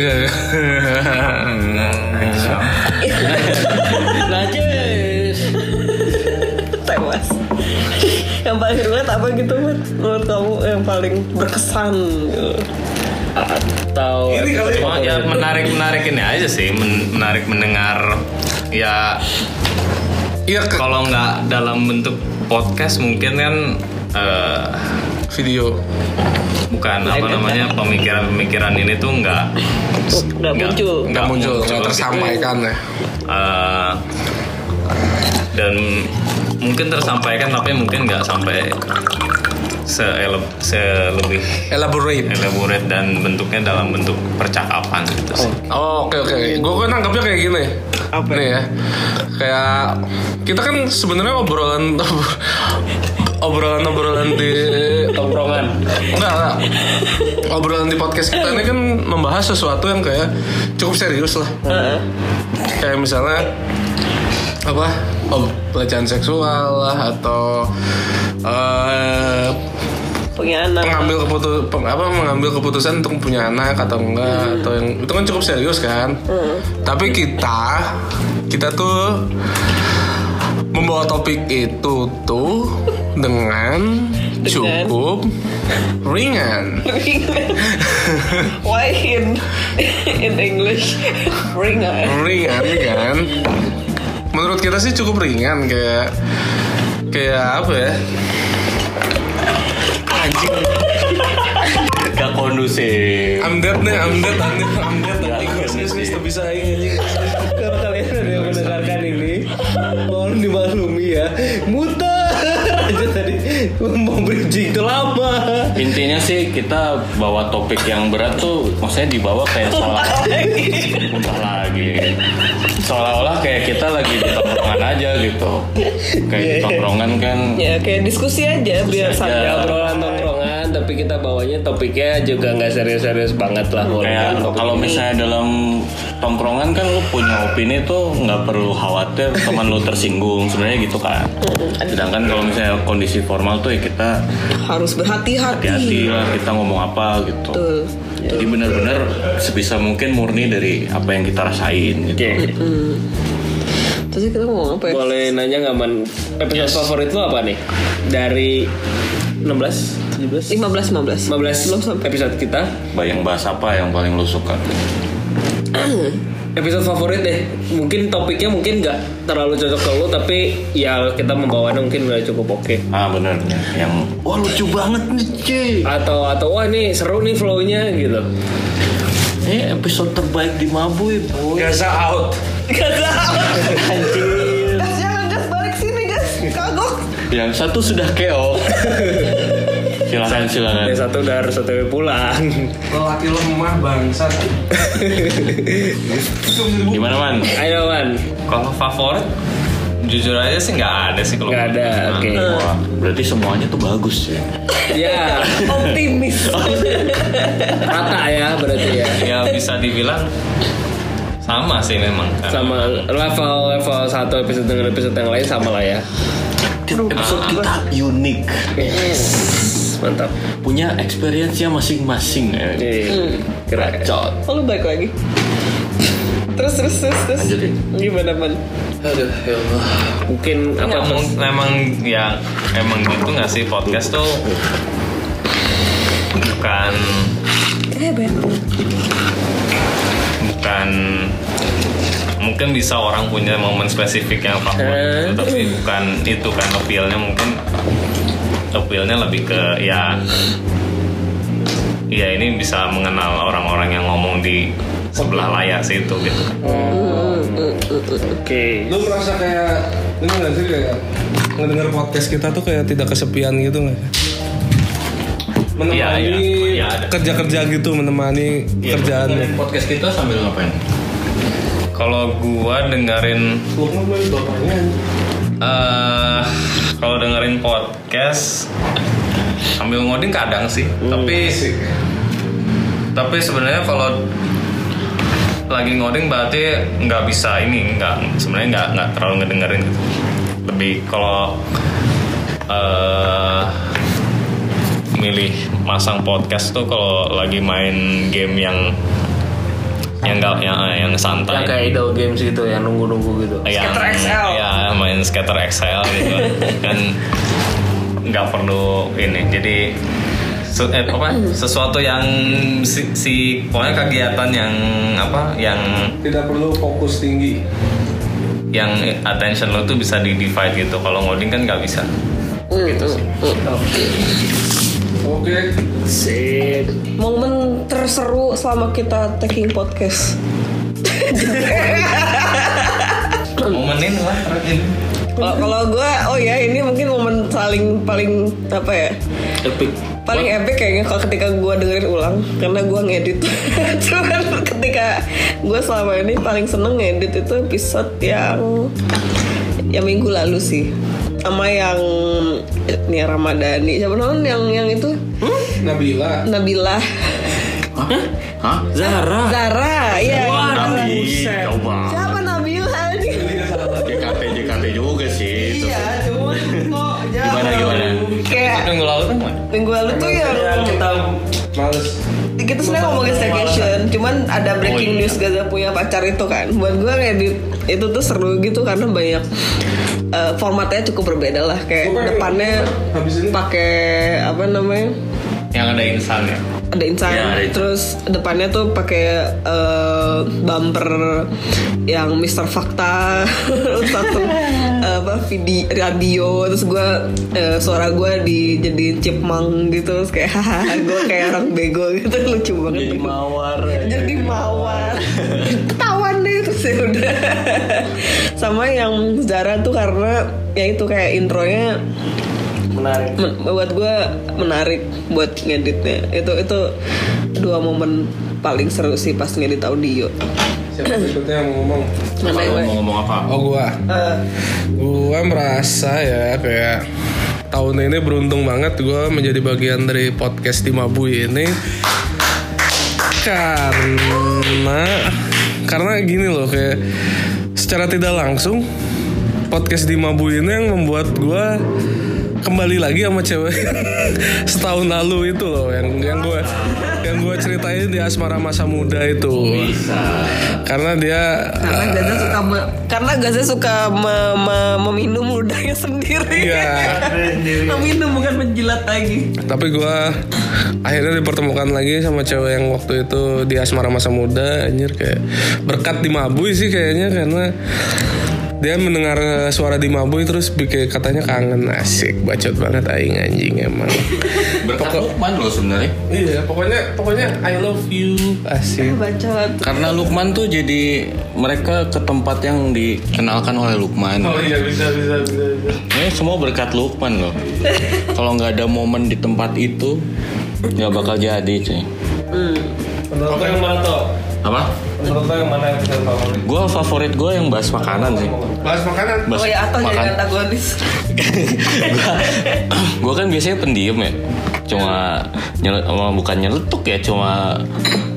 Speaker 2: Tewas. Yang paling relate apa gitu Mat? menurut kamu yang paling berkesan? gitu?
Speaker 4: atau
Speaker 5: Cuma ya menarik menarik ini aja sih men- menarik mendengar ya
Speaker 1: iya ke-
Speaker 5: kalau nggak dalam bentuk podcast mungkin kan eh,
Speaker 1: video
Speaker 5: bukan apa namanya pemikiran-pemikiran ini tuh nggak
Speaker 2: Udah
Speaker 5: nggak-
Speaker 2: muncul.
Speaker 1: nggak muncul nggak
Speaker 5: gitu.
Speaker 1: tersampaikan ya
Speaker 5: Eh, dan mungkin tersampaikan tapi mungkin nggak sampai se selebih
Speaker 1: elaborate
Speaker 5: elaborate dan bentuknya dalam bentuk percakapan gitu sih.
Speaker 1: Oh oke oke, gue kan nangkepnya kayak gini. Apa? Nih ya, kayak kita kan sebenarnya obrolan obrolan obrolan di
Speaker 4: tongkrongan
Speaker 1: enggak, enggak obrolan di podcast kita ini kan membahas sesuatu yang kayak cukup serius lah. Kayak misalnya apa oh, pelecehan seksual lah atau eh,
Speaker 2: Pengkhianat.
Speaker 1: pengambil keputu- peng- apa mengambil keputusan untuk punya anak atau enggak atau yang itu kan cukup serius kan tapi kita kita tuh membawa topik itu tuh dengan cukup ringan
Speaker 2: Why in in English ringan?
Speaker 1: ringan kan menurut kita sih cukup ringan kayak kayak apa ya anjing
Speaker 5: Gak kondusif.
Speaker 1: I'm dead nih, I'm dead, I'm dead, I'm dead, anjing. Serius, serius, tak bisa anjing.
Speaker 4: kalau kalian ada yang mendengarkan ini mohon dimaklumi ya muter aja tadi mau bridging itu lama
Speaker 3: Intinya sih kita bawa topik yang berat tuh maksudnya dibawa kayak salah muntah lagi. Seolah-olah kayak kita lagi di tongkrongan aja gitu. Kayak di tongkrongan kan
Speaker 2: Ya kayak diskusi aja biar
Speaker 3: aja.
Speaker 2: sambil
Speaker 4: Ya, obrolan tongkrongan tapi kita bawanya topiknya juga nggak serius-serius banget lah
Speaker 3: kayak
Speaker 4: walaupun topik-
Speaker 3: kalau misalnya dalam tongkrongan kan lu punya opini tuh nggak perlu khawatir teman lu tersinggung sebenarnya gitu kan. Sedangkan kalau misalnya kondisi formal tuh ya kita
Speaker 2: harus berhati-hati.
Speaker 3: hati-hati lah kita ngomong apa gitu.
Speaker 2: Betul.
Speaker 3: Jadi benar-benar sebisa mungkin murni dari apa yang kita rasain gitu.
Speaker 4: Oke.
Speaker 2: Terus kita mau apa ya?
Speaker 4: boleh nanya nggak man episode favorit lo apa nih dari 16 17
Speaker 2: 15 15.
Speaker 4: 15
Speaker 2: Belum sampai.
Speaker 4: episode kita
Speaker 3: Bayang bahas apa yang paling lu suka?
Speaker 4: episode favorit deh mungkin topiknya mungkin nggak terlalu cocok ke lo tapi ya kita membawanya mungkin udah cukup oke
Speaker 3: Ah bener yang wah lucu banget nih cuy.
Speaker 4: atau atau wah nih seru nih flownya gitu
Speaker 3: Ini Eh, episode terbaik di Mabui boy.
Speaker 1: Gaza out.
Speaker 2: Gas Eh, jangan gas balik sini gas. Kagok.
Speaker 3: Yang satu sudah keok.
Speaker 5: Kan.
Speaker 3: silakan silakan.
Speaker 4: yang satu udah harus otw pulang
Speaker 1: Lelaki lemah bangsat.
Speaker 3: Gimana man?
Speaker 4: ayo man
Speaker 5: Kalau favorit jujur aja sih nggak ada sih kalau
Speaker 4: nggak ada
Speaker 5: Nah,
Speaker 4: oke
Speaker 3: Wah, berarti semuanya tuh bagus ya.
Speaker 4: ya
Speaker 2: Optimis.
Speaker 4: rata ya berarti ya
Speaker 5: Ya bisa dibilang sama sih memang. Karena
Speaker 4: sama level level satu episode dengan episode yang lain sama lah ya
Speaker 3: Episode kita unik,
Speaker 4: yes. mantap
Speaker 3: punya experience-nya masing-masing. ya.
Speaker 4: Iya. keren
Speaker 3: Bacot.
Speaker 2: Oh, lu balik lagi. Terus terus terus terus.
Speaker 3: Lanjutin.
Speaker 2: Gimana man?
Speaker 4: mungkin apa
Speaker 5: Ya, mung- emang ya emang gitu nggak sih podcast tuh bukan bukan mungkin bisa orang punya momen spesifik yang favorit gitu, tapi bukan itu kan appeal-nya mungkin appeal-nya lebih ke ya Iya ini bisa mengenal orang-orang yang ngomong di sebelah layar situ gitu kan.
Speaker 4: Oke.
Speaker 1: Lu merasa kayak ini nggak sih kayak ngedenger podcast kita tuh kayak tidak kesepian gitu nggak?
Speaker 5: Iya,
Speaker 1: Menemani
Speaker 5: iya. Iya, ada. Iya.
Speaker 1: kerja-kerja gitu, menemani kerjaan.
Speaker 3: Iya,
Speaker 1: ya.
Speaker 3: podcast kita sambil ngapain?
Speaker 5: Kalau gua dengerin eh kalau dengerin podcast sambil ngoding kadang sih,
Speaker 1: Hmm.
Speaker 5: tapi tapi sebenarnya kalau lagi ngoding berarti nggak bisa ini nggak sebenarnya nggak nggak terlalu ngedengerin gitu. lebih kalau eh milih masang podcast tuh kalau lagi main game yang yang nggak yang yang santai
Speaker 4: Yang kayak idol games gitu yang nunggu-nunggu gitu.
Speaker 5: yang,
Speaker 7: Skater XL.
Speaker 5: ya main skater XL gitu kan nggak perlu ini jadi se- eh, apa sesuatu yang si, si pokoknya kegiatan yang apa yang
Speaker 1: Tidak perlu fokus tinggi.
Speaker 5: yang attention lo tuh bisa di divide gitu kalau ngoding kan nggak bisa
Speaker 2: gitu sih.
Speaker 1: Oke.
Speaker 4: Sip.
Speaker 2: Momen terseru selama kita taking podcast.
Speaker 5: momenin lah terakhir
Speaker 2: Kalau kalau gue, oh ya ini mungkin momen saling paling apa ya?
Speaker 4: Epic.
Speaker 2: paling epic kayaknya kalau ketika gue dengerin ulang karena gue ngedit cuman ketika gue selama ini paling seneng ngedit itu episode yang yang minggu lalu sih sama yang Nia Ramadhani siapa namanya yang yang itu
Speaker 1: Nabila.
Speaker 2: Nabila
Speaker 3: Hah?
Speaker 2: Zara Zara iya Nabila.
Speaker 3: Coba.
Speaker 2: siapa Nabila ini
Speaker 3: JKT JKT juga sih. itu.
Speaker 2: iya cuman kok
Speaker 3: Gimana gimana? Iya,
Speaker 2: kayak
Speaker 5: minggu lalu kan Mai?
Speaker 2: minggu lalu tuh yang
Speaker 1: Males.
Speaker 2: kita sebenarnya ngomongin staycation cuman ada
Speaker 3: Oh,
Speaker 2: breaking
Speaker 3: iya.
Speaker 2: news Gaza punya pacar itu kan buat gue ngedit itu tuh seru gitu karena banyak eh, formatnya cukup berbeda lah kayak
Speaker 1: Gua pengen-
Speaker 2: depannya
Speaker 1: habis ini-
Speaker 2: pakai apa namanya
Speaker 5: yang ada insan ya
Speaker 2: ada insan
Speaker 3: Ya, ada insan.
Speaker 2: terus depannya tuh pakai eh, bumper yang Mr. Fakta terus satu eh, apa video radio terus gue suara gue dijadiin chipmang gitu terus kayak hahaha gue kayak orang bego gitu lucu banget
Speaker 3: Jadi mawar. ya.
Speaker 2: jadi mawar ketahuan deh terus ya udah sama yang Zara tuh karena ya itu kayak intronya
Speaker 4: Menarik.
Speaker 2: men- buat gue menarik buat ngeditnya itu itu dua momen paling seru sih pas ngedit audio
Speaker 1: Siapa berikutnya yang mau ngomong?
Speaker 2: mana
Speaker 3: Kalau
Speaker 2: yang
Speaker 3: mau ngomong apa?
Speaker 1: Oh gua. Gua merasa ya kayak tahun ini beruntung banget gua menjadi bagian dari podcast di Mabu ini karena karena gini loh kayak secara tidak langsung podcast di Mabu ini yang membuat gua kembali lagi sama cewek setahun lalu itu loh yang yang gue yang gue ceritain di asmara masa muda itu karena dia
Speaker 2: karena Gaza suka me- karena Gaza suka me- me- meminum ludahnya sendiri
Speaker 1: Iya.
Speaker 2: meminum bukan menjilat lagi
Speaker 1: Tapi gua akhirnya dipertemukan lagi sama cewek yang waktu itu di asmara masa muda Anjir kayak berkat di Mabui sih kayaknya karena dia mendengar eh, suara di Mabui terus bikin katanya kangen asik bacot banget aing anjing emang
Speaker 3: Berkat Lukman loh sebenarnya.
Speaker 1: iya pokoknya pokoknya I love you asik
Speaker 2: bacot
Speaker 3: Karena Lukman tuh jadi mereka ke tempat yang dikenalkan oleh Lukman.
Speaker 1: iya bisa bisa bisa, bisa.
Speaker 3: Ini semua berkat Lukman loh. Kalau nggak ada momen di tempat itu, nggak bakal jadi cuy.
Speaker 1: Hmm. menurut lo yang mana tuh
Speaker 3: Apa?
Speaker 1: menurut lo yang mana yang favorit
Speaker 3: Gue favorit gue yang bahas makanan sih.
Speaker 1: bahas makanan
Speaker 3: Bahas
Speaker 2: oh ya atau jadi
Speaker 3: makan.
Speaker 2: antagonis
Speaker 3: gue kan biasanya pendiam ya. Cuma nyel- oh, bukan nyeletuk ya, cuma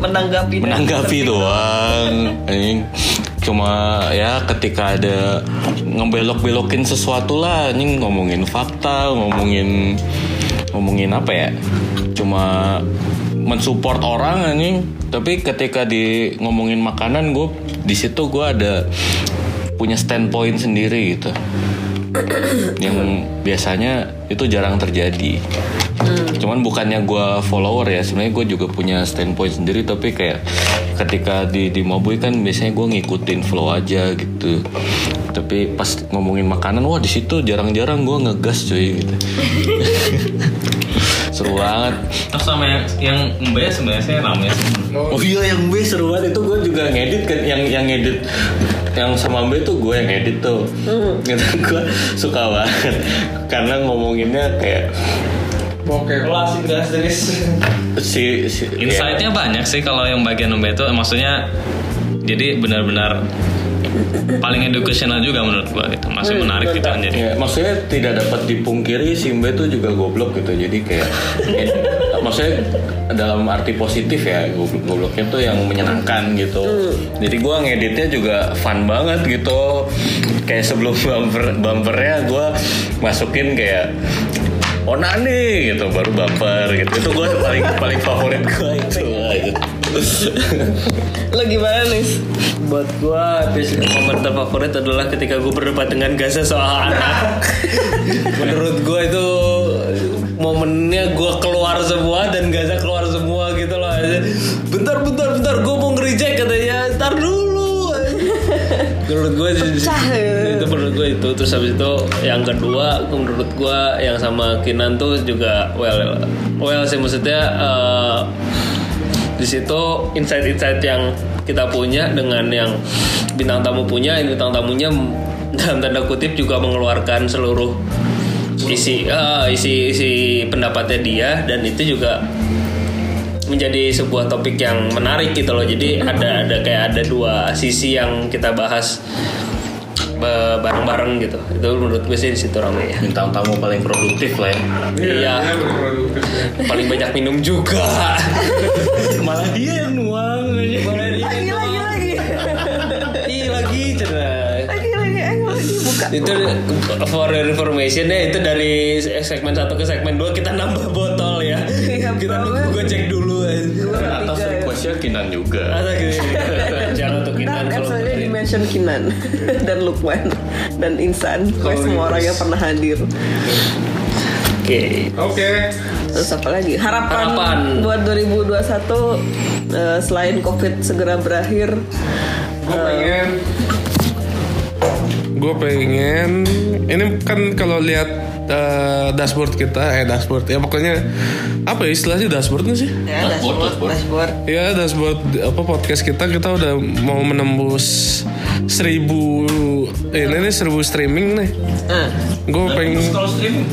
Speaker 2: menanggapi
Speaker 3: menanggapi doang. Anjing. Cuma ya ketika ada ngebelok-belokin sesuatu lah, anjing ngomongin fakta, ngomongin ngomongin apa ya? Cuma mensupport orang anjing. Tapi ketika di ngomongin makanan gue di situ gue ada punya standpoint sendiri gitu. yang biasanya itu jarang terjadi. Cuman bukannya gue follower ya, sebenarnya gue juga punya standpoint sendiri. Tapi kayak ketika di di Mabui kan biasanya gue ngikutin flow aja gitu. Tapi pas ngomongin makanan, wah di situ jarang-jarang gue ngegas cuy. Gitu. seru banget
Speaker 5: Terus sama yang yang Mbak sebenarnya saya rame sih.
Speaker 3: oh iya yang B seru banget itu gue juga ngedit kan yang yang ngedit yang sama B tuh gue yang ngedit tuh gitu gue suka banget karena ngomonginnya kayak
Speaker 1: Oke.
Speaker 3: si, si ya.
Speaker 5: Insight-nya banyak sih kalau yang bagian Mbak itu maksudnya jadi benar-benar paling educational juga menurut gua gitu. Masih menarik gitu kan jadi.
Speaker 3: Ya, maksudnya tidak dapat dipungkiri Simba itu juga goblok gitu. Jadi kayak eh, maksudnya dalam arti positif ya goblok gobloknya tuh yang menyenangkan gitu. Jadi gua ngeditnya juga fun banget gitu. Kayak sebelum bumper bumpernya gua masukin kayak onani gitu baru bumper gitu itu gue paling paling favorit gue itu gitu.
Speaker 2: Lo gimana nih?
Speaker 4: Buat gua episode momen terfavorit adalah ketika gua berdebat dengan Gaza soal anak. Menurut gua itu momennya gua keluar semua dan Gaza keluar semua gitu loh. Bentar bentar bentar gua mau nge-reject katanya. Ntar dulu. Menurut gua itu,
Speaker 2: Pecah, ya.
Speaker 4: itu menurut gua itu terus habis itu yang kedua menurut gua yang sama Kinan tuh juga well well sih maksudnya eh, di situ insight-insight yang kita punya dengan yang bintang tamu punya ini bintang tamunya dalam tanda kutip juga mengeluarkan seluruh isi eh, isi isi pendapatnya dia dan itu juga menjadi sebuah topik yang menarik gitu loh jadi ada ada kayak ada dua sisi yang kita bahas eh, bareng-bareng gitu itu menurut gue sih di situ rame ya
Speaker 3: bintang tamu paling produktif lah ya
Speaker 4: iya paling banyak minum juga malah dia yang nuang malah dia yang
Speaker 2: Lagi lagi lagi.
Speaker 4: Ih, lagi cerah
Speaker 2: Lagi Eh, lagi ayo lagi buka.
Speaker 4: itu for your information ya itu dari segmen 1 ke segmen 2 kita nambah botol ya
Speaker 2: Iya,
Speaker 4: kita
Speaker 2: banget.
Speaker 4: nunggu gojek dulu aja
Speaker 3: atas
Speaker 2: Tiga ya.
Speaker 3: requestnya Kinan juga
Speaker 4: Atau gitu. Jangan untuk kita
Speaker 2: Dan
Speaker 4: kalau
Speaker 2: episode
Speaker 4: benerin.
Speaker 2: di mention Kinan dan Lukman dan Insan, Pokoknya semua orang yang pernah hadir.
Speaker 4: Oke.
Speaker 1: Oke.
Speaker 2: Terus apa lagi? Harapan,
Speaker 4: Harapan.
Speaker 2: buat 2021 eh, selain Covid segera berakhir.
Speaker 1: Gue pengen gue pengen ini kan kalau lihat eh, dashboard kita eh dashboard ya pokoknya apa ya istilahnya dashboardnya sih
Speaker 11: Ya, dashboard, dashboard.
Speaker 1: Ya dashboard apa podcast kita kita udah mau menembus seribu ini nih seribu streaming nih. Gue pengen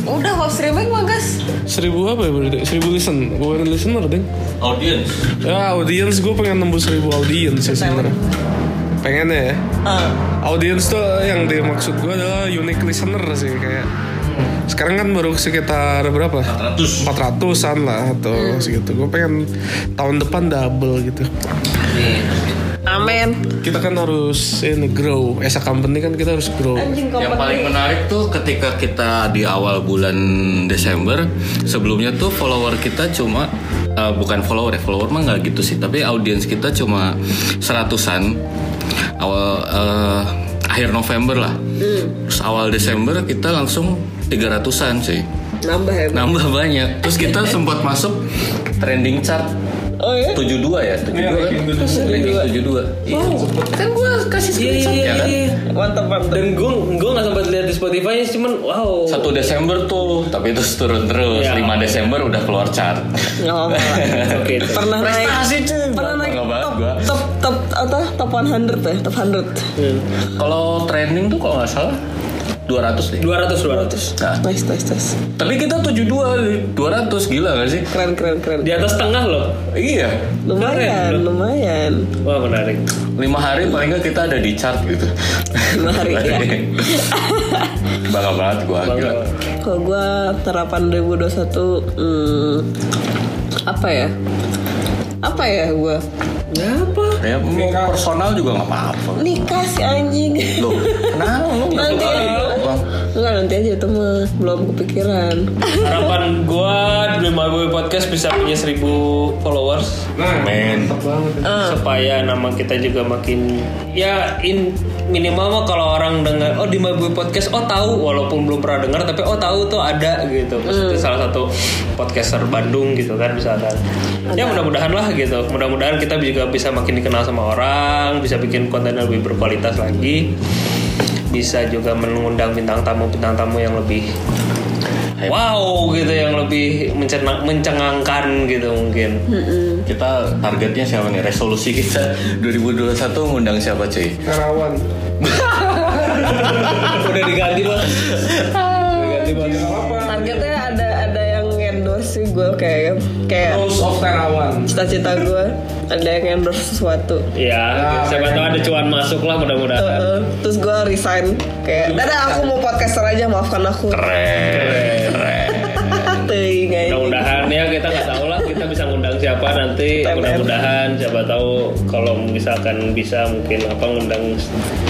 Speaker 11: Udah kok streaming mah guys.
Speaker 1: seribu apa ya berarti? Seribu listen, gue listener ding.
Speaker 3: audience
Speaker 1: Ya audience gue pengen nembus seribu audience sih sebenarnya. Pengen ya. Audience tuh yang dimaksud gue adalah unique listener sih kayak. Sekarang kan baru sekitar berapa? 400 400-an lah atau segitu. Gue pengen tahun depan double gitu.
Speaker 2: Amin.
Speaker 1: kita kan harus ini grow as a company kan kita harus grow
Speaker 2: Anjing
Speaker 3: Yang paling
Speaker 2: kompeten.
Speaker 3: menarik tuh ketika kita di awal bulan Desember sebelumnya tuh follower kita cuma eh, bukan follower ya follower mah nggak gitu sih tapi audiens kita cuma seratusan awal eh, akhir November lah terus awal Desember kita langsung 300an sih
Speaker 2: Nambah ya.
Speaker 3: nambah banyak terus kita sempat masuk trending chart
Speaker 2: Oh ya.
Speaker 3: 72 ya 72 kan ranking 72 Iya.
Speaker 2: Kan gua kasih screenshot
Speaker 3: iya,
Speaker 2: ya kan.
Speaker 3: iya.
Speaker 2: Mantap mantap.
Speaker 4: Dan gue gue nggak sempat lihat di Spotify nya cuman wow.
Speaker 3: Satu Desember tuh, tapi terus turun terus.
Speaker 4: Ya.
Speaker 3: 5 Desember udah keluar chart.
Speaker 2: Oh,
Speaker 4: Oke. itu.
Speaker 2: pernah naik pernah naik
Speaker 3: Bangga banget
Speaker 2: top,
Speaker 3: gua.
Speaker 2: top top atau top 100 ya top 100
Speaker 3: Kalau trending tuh kalau nggak salah 200 deh.
Speaker 4: 200
Speaker 3: Nah,
Speaker 4: 200.
Speaker 2: nice nice nice
Speaker 3: tapi kita 72 200 gila gak sih?
Speaker 2: keren keren keren
Speaker 4: Di atas tengah loh.
Speaker 3: Iya.
Speaker 2: lumayan
Speaker 4: Keren,
Speaker 2: lumayan
Speaker 4: Wah menarik.
Speaker 3: 5 hari paling nggak kita ada di chart gitu.
Speaker 2: Lima hari, ya.
Speaker 3: Iya. Bangga banget gua gila.
Speaker 2: kalau gue terapan 2021 hmm, apa ya apa ya gue apa
Speaker 3: Ya, mau personal juga nggak apa-apa.
Speaker 2: nikah si anjing
Speaker 3: Loh, kenapa lu nggak
Speaker 2: Nanti.
Speaker 3: suka? Bang,
Speaker 2: Enggak nanti aja itu mah belum kepikiran
Speaker 4: Harapan gue di My Boy Podcast bisa punya 1000 followers
Speaker 3: Men.
Speaker 4: supaya nama kita juga makin ya in minimal mah kalau orang dengar oh di My Boy Podcast oh tahu walaupun belum pernah dengar tapi oh tahu tuh ada gitu maksudnya salah satu podcaster Bandung gitu kan misalkan ya mudah-mudahan lah gitu mudah-mudahan kita juga bisa makin dikenal sama orang bisa bikin konten yang lebih berkualitas lagi bisa juga mengundang bintang tamu bintang tamu yang lebih wow gitu yang lebih mencerna- mencengangkan gitu mungkin
Speaker 3: Kita targetnya siapa nih? Resolusi kita 2021 ngundang siapa cuy?
Speaker 1: Karawan.
Speaker 4: udah diganti loh
Speaker 2: Targetnya ada ada yang endorse sih gue kayak kayak
Speaker 1: Rules of Terawan.
Speaker 2: cita-cita gue ada yang endorse sesuatu.
Speaker 4: ya siapa tahu ada cuan masuk lah mudah-mudahan
Speaker 2: Heeh. Uh-uh. terus gue resign kayak dadah aku mau podcaster aja maafkan aku Teuing, guys.
Speaker 4: Mudah-mudahan ya kita nggak tahu lah kita bisa ngundang siapa nanti
Speaker 2: TBM.
Speaker 4: mudah-mudahan siapa tahu kalau misalkan bisa mungkin apa ngundang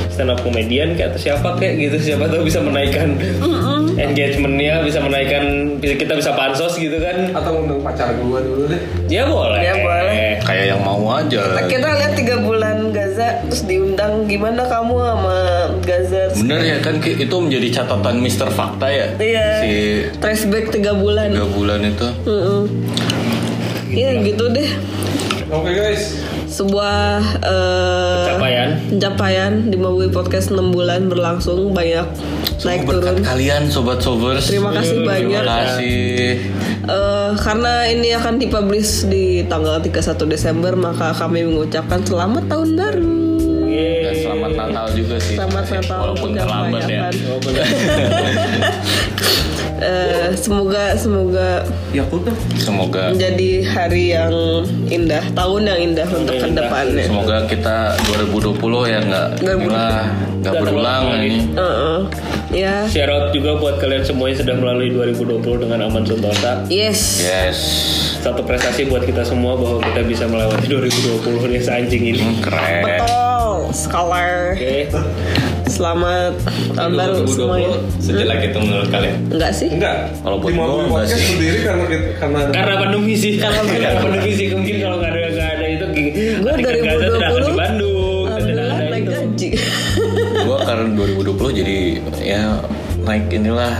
Speaker 4: stand up comedian kayak atau siapa kayak gitu siapa tahu bisa menaikkan engagementnya bisa menaikkan kita bisa pansos gitu kan
Speaker 1: Atau undang pacar gua dulu deh.
Speaker 4: ya boleh
Speaker 2: Ya, boleh.
Speaker 3: Kayak yang mau aja.
Speaker 2: kita lihat tiga bulan Gaza terus diundang gimana kamu sama Gaza Terus-
Speaker 3: Bener ya kan Ki? itu menjadi catatan Mister Fakta ya?
Speaker 2: iya
Speaker 3: Si
Speaker 2: traceback tiga bulan
Speaker 3: tiga bulan itu.
Speaker 2: Heeh. Iya gitu deh
Speaker 1: Oke guys.
Speaker 2: sebuah eh,
Speaker 4: Pencapaian.
Speaker 2: pencapaian di Mabui Podcast 6 bulan berlangsung banyak naik turun
Speaker 3: Berkat kan? kalian sobat sobers.
Speaker 2: Terima kasih banyak.
Speaker 3: Terima kasih.
Speaker 2: Eh, karena ini akan dipublish di tanggal 31 Desember maka kami mengucapkan selamat tahun baru
Speaker 3: Dan selamat Natal juga sih.
Speaker 2: Selamat Natal
Speaker 3: Walaupun
Speaker 2: juga
Speaker 3: terlambat ya.
Speaker 2: kebanyakan. Eh, semoga semoga
Speaker 3: Semoga
Speaker 2: menjadi hari yang indah, tahun yang indah untuk kedepannya.
Speaker 3: semoga kita 2020 ya nggak
Speaker 2: 2020.
Speaker 3: nggak nggak berulang ini.
Speaker 2: Heeh. Ya,
Speaker 4: Share out juga buat kalian semuanya sudah melalui 2020 dengan aman sentosa.
Speaker 2: yes.
Speaker 3: Yes.
Speaker 4: Satu prestasi buat kita semua bahwa kita bisa melewati 2020 ini anjing ini.
Speaker 3: Hmm, Keren.
Speaker 2: Betul, scholar.
Speaker 4: Oke.
Speaker 2: Selamat tahun baru semuanya.
Speaker 5: Sejelek itu menurut kalian?
Speaker 2: Enggak sih?
Speaker 1: Enggak.
Speaker 3: Kalau buat
Speaker 1: Di Mabui
Speaker 3: gua enggak
Speaker 1: podcast
Speaker 3: Iya sih.
Speaker 1: sendiri karena kita- karena
Speaker 4: Karena pandemi sih. Karena pandemi sih mungkin kalau nggak ada nggak ada itu
Speaker 2: Gua
Speaker 4: lari ke Gaza,
Speaker 2: 2020
Speaker 4: sedangkan di Bandung. tidak
Speaker 2: Alhamdulillah
Speaker 4: ada
Speaker 2: naik
Speaker 4: itu.
Speaker 2: gaji.
Speaker 3: Gua karena 2020 jadi ya naik inilah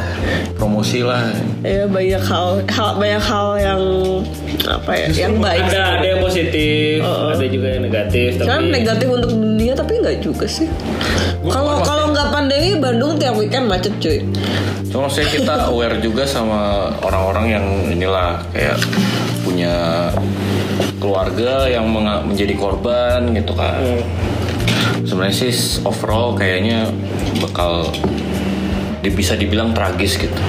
Speaker 3: promosi lah.
Speaker 2: ya banyak hal, hal banyak hal yang apa ya, yang baik.
Speaker 4: Ada ada yang positif,
Speaker 2: Uh-uh.
Speaker 4: ada juga yang negatif. Tapi
Speaker 2: Kan negatif untuk dunia tapi nggak juga sih. Kalau kalau nggak pandemi Bandung tiap weekend macet cuy.
Speaker 3: Cuma saya kita aware juga sama orang-orang yang inilah kayak punya keluarga yang menga- menjadi korban gitu kan. Sebenarnya sih overall kayaknya bakal di- bisa dibilang tragis gitu.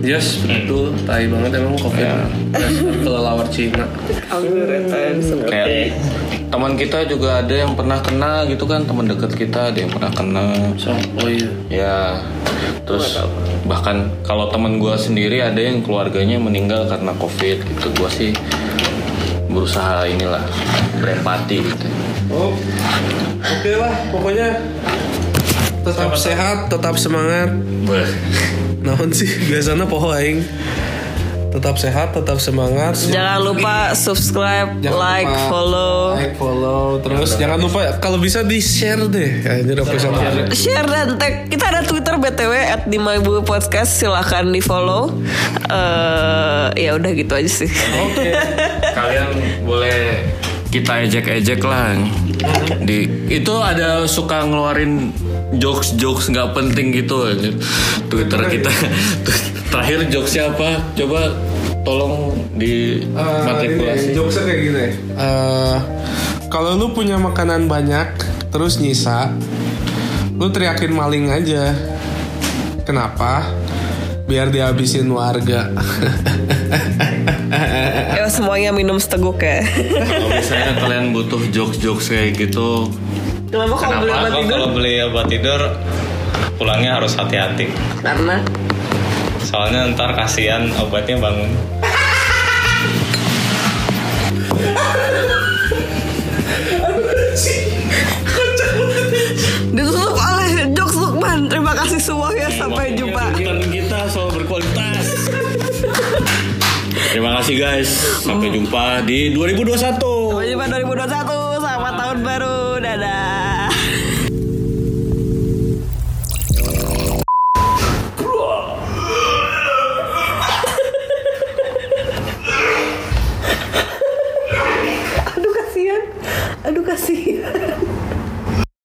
Speaker 1: Yes, betul. Tai banget emang covid.
Speaker 3: Ya.
Speaker 1: Kelelawar Cina.
Speaker 2: Alhamdulillah.
Speaker 3: Kayak teman kita juga ada yang pernah kena gitu kan, teman dekat kita ada yang pernah kena.
Speaker 1: So, oh iya.
Speaker 3: Ya, terus bahkan kalau teman gue sendiri ada yang keluarganya meninggal karena covid gitu. Gue sih berusaha inilah berempati gitu.
Speaker 1: Oh, oke lah. Pokoknya tetap sehat, tetap semangat. Namun sih biasanya poho aing. Tetap sehat, tetap semangat.
Speaker 2: Jangan lupa subscribe,
Speaker 1: Jangan
Speaker 2: like,
Speaker 1: lupa
Speaker 2: follow,
Speaker 1: like, follow, terus jangan lupa kalau bisa di share deh. Ya, ini udah pesan.
Speaker 2: share dan tag. Kita ada Twitter btw at di podcast. Silahkan di follow. Eh ya udah gitu aja sih.
Speaker 3: Kalian boleh kita ejek-ejek lah. Di itu ada suka ngeluarin jokes-jokes nggak penting gitu anjir. Twitter kita. Terakhir jokes siapa? Coba tolong
Speaker 1: Eh,
Speaker 3: di
Speaker 1: ini,
Speaker 3: matrikulasi.
Speaker 1: jokesnya kayak gini. Eh, kalau lu punya makanan banyak terus nyisa, lu teriakin maling aja. Kenapa? Biar dihabisin warga.
Speaker 2: Ya semuanya minum seteguk ya.
Speaker 3: Kalau misalnya kalian butuh jokes-jokes kayak gitu,
Speaker 2: Kenapa kamu beli obat
Speaker 5: Kenapa kok
Speaker 2: tidur?
Speaker 5: kalau beli obat tidur pulangnya harus hati-hati?
Speaker 2: Karena
Speaker 5: Soalnya ntar kasihan obatnya bangun.
Speaker 2: ditutup oleh Jok Lukman. Terima kasih semuanya. Sampai jumpa.
Speaker 3: kita soal berkualitas. Terima kasih guys. Sampai jumpa di 2021.
Speaker 2: Sampai jumpa 2021.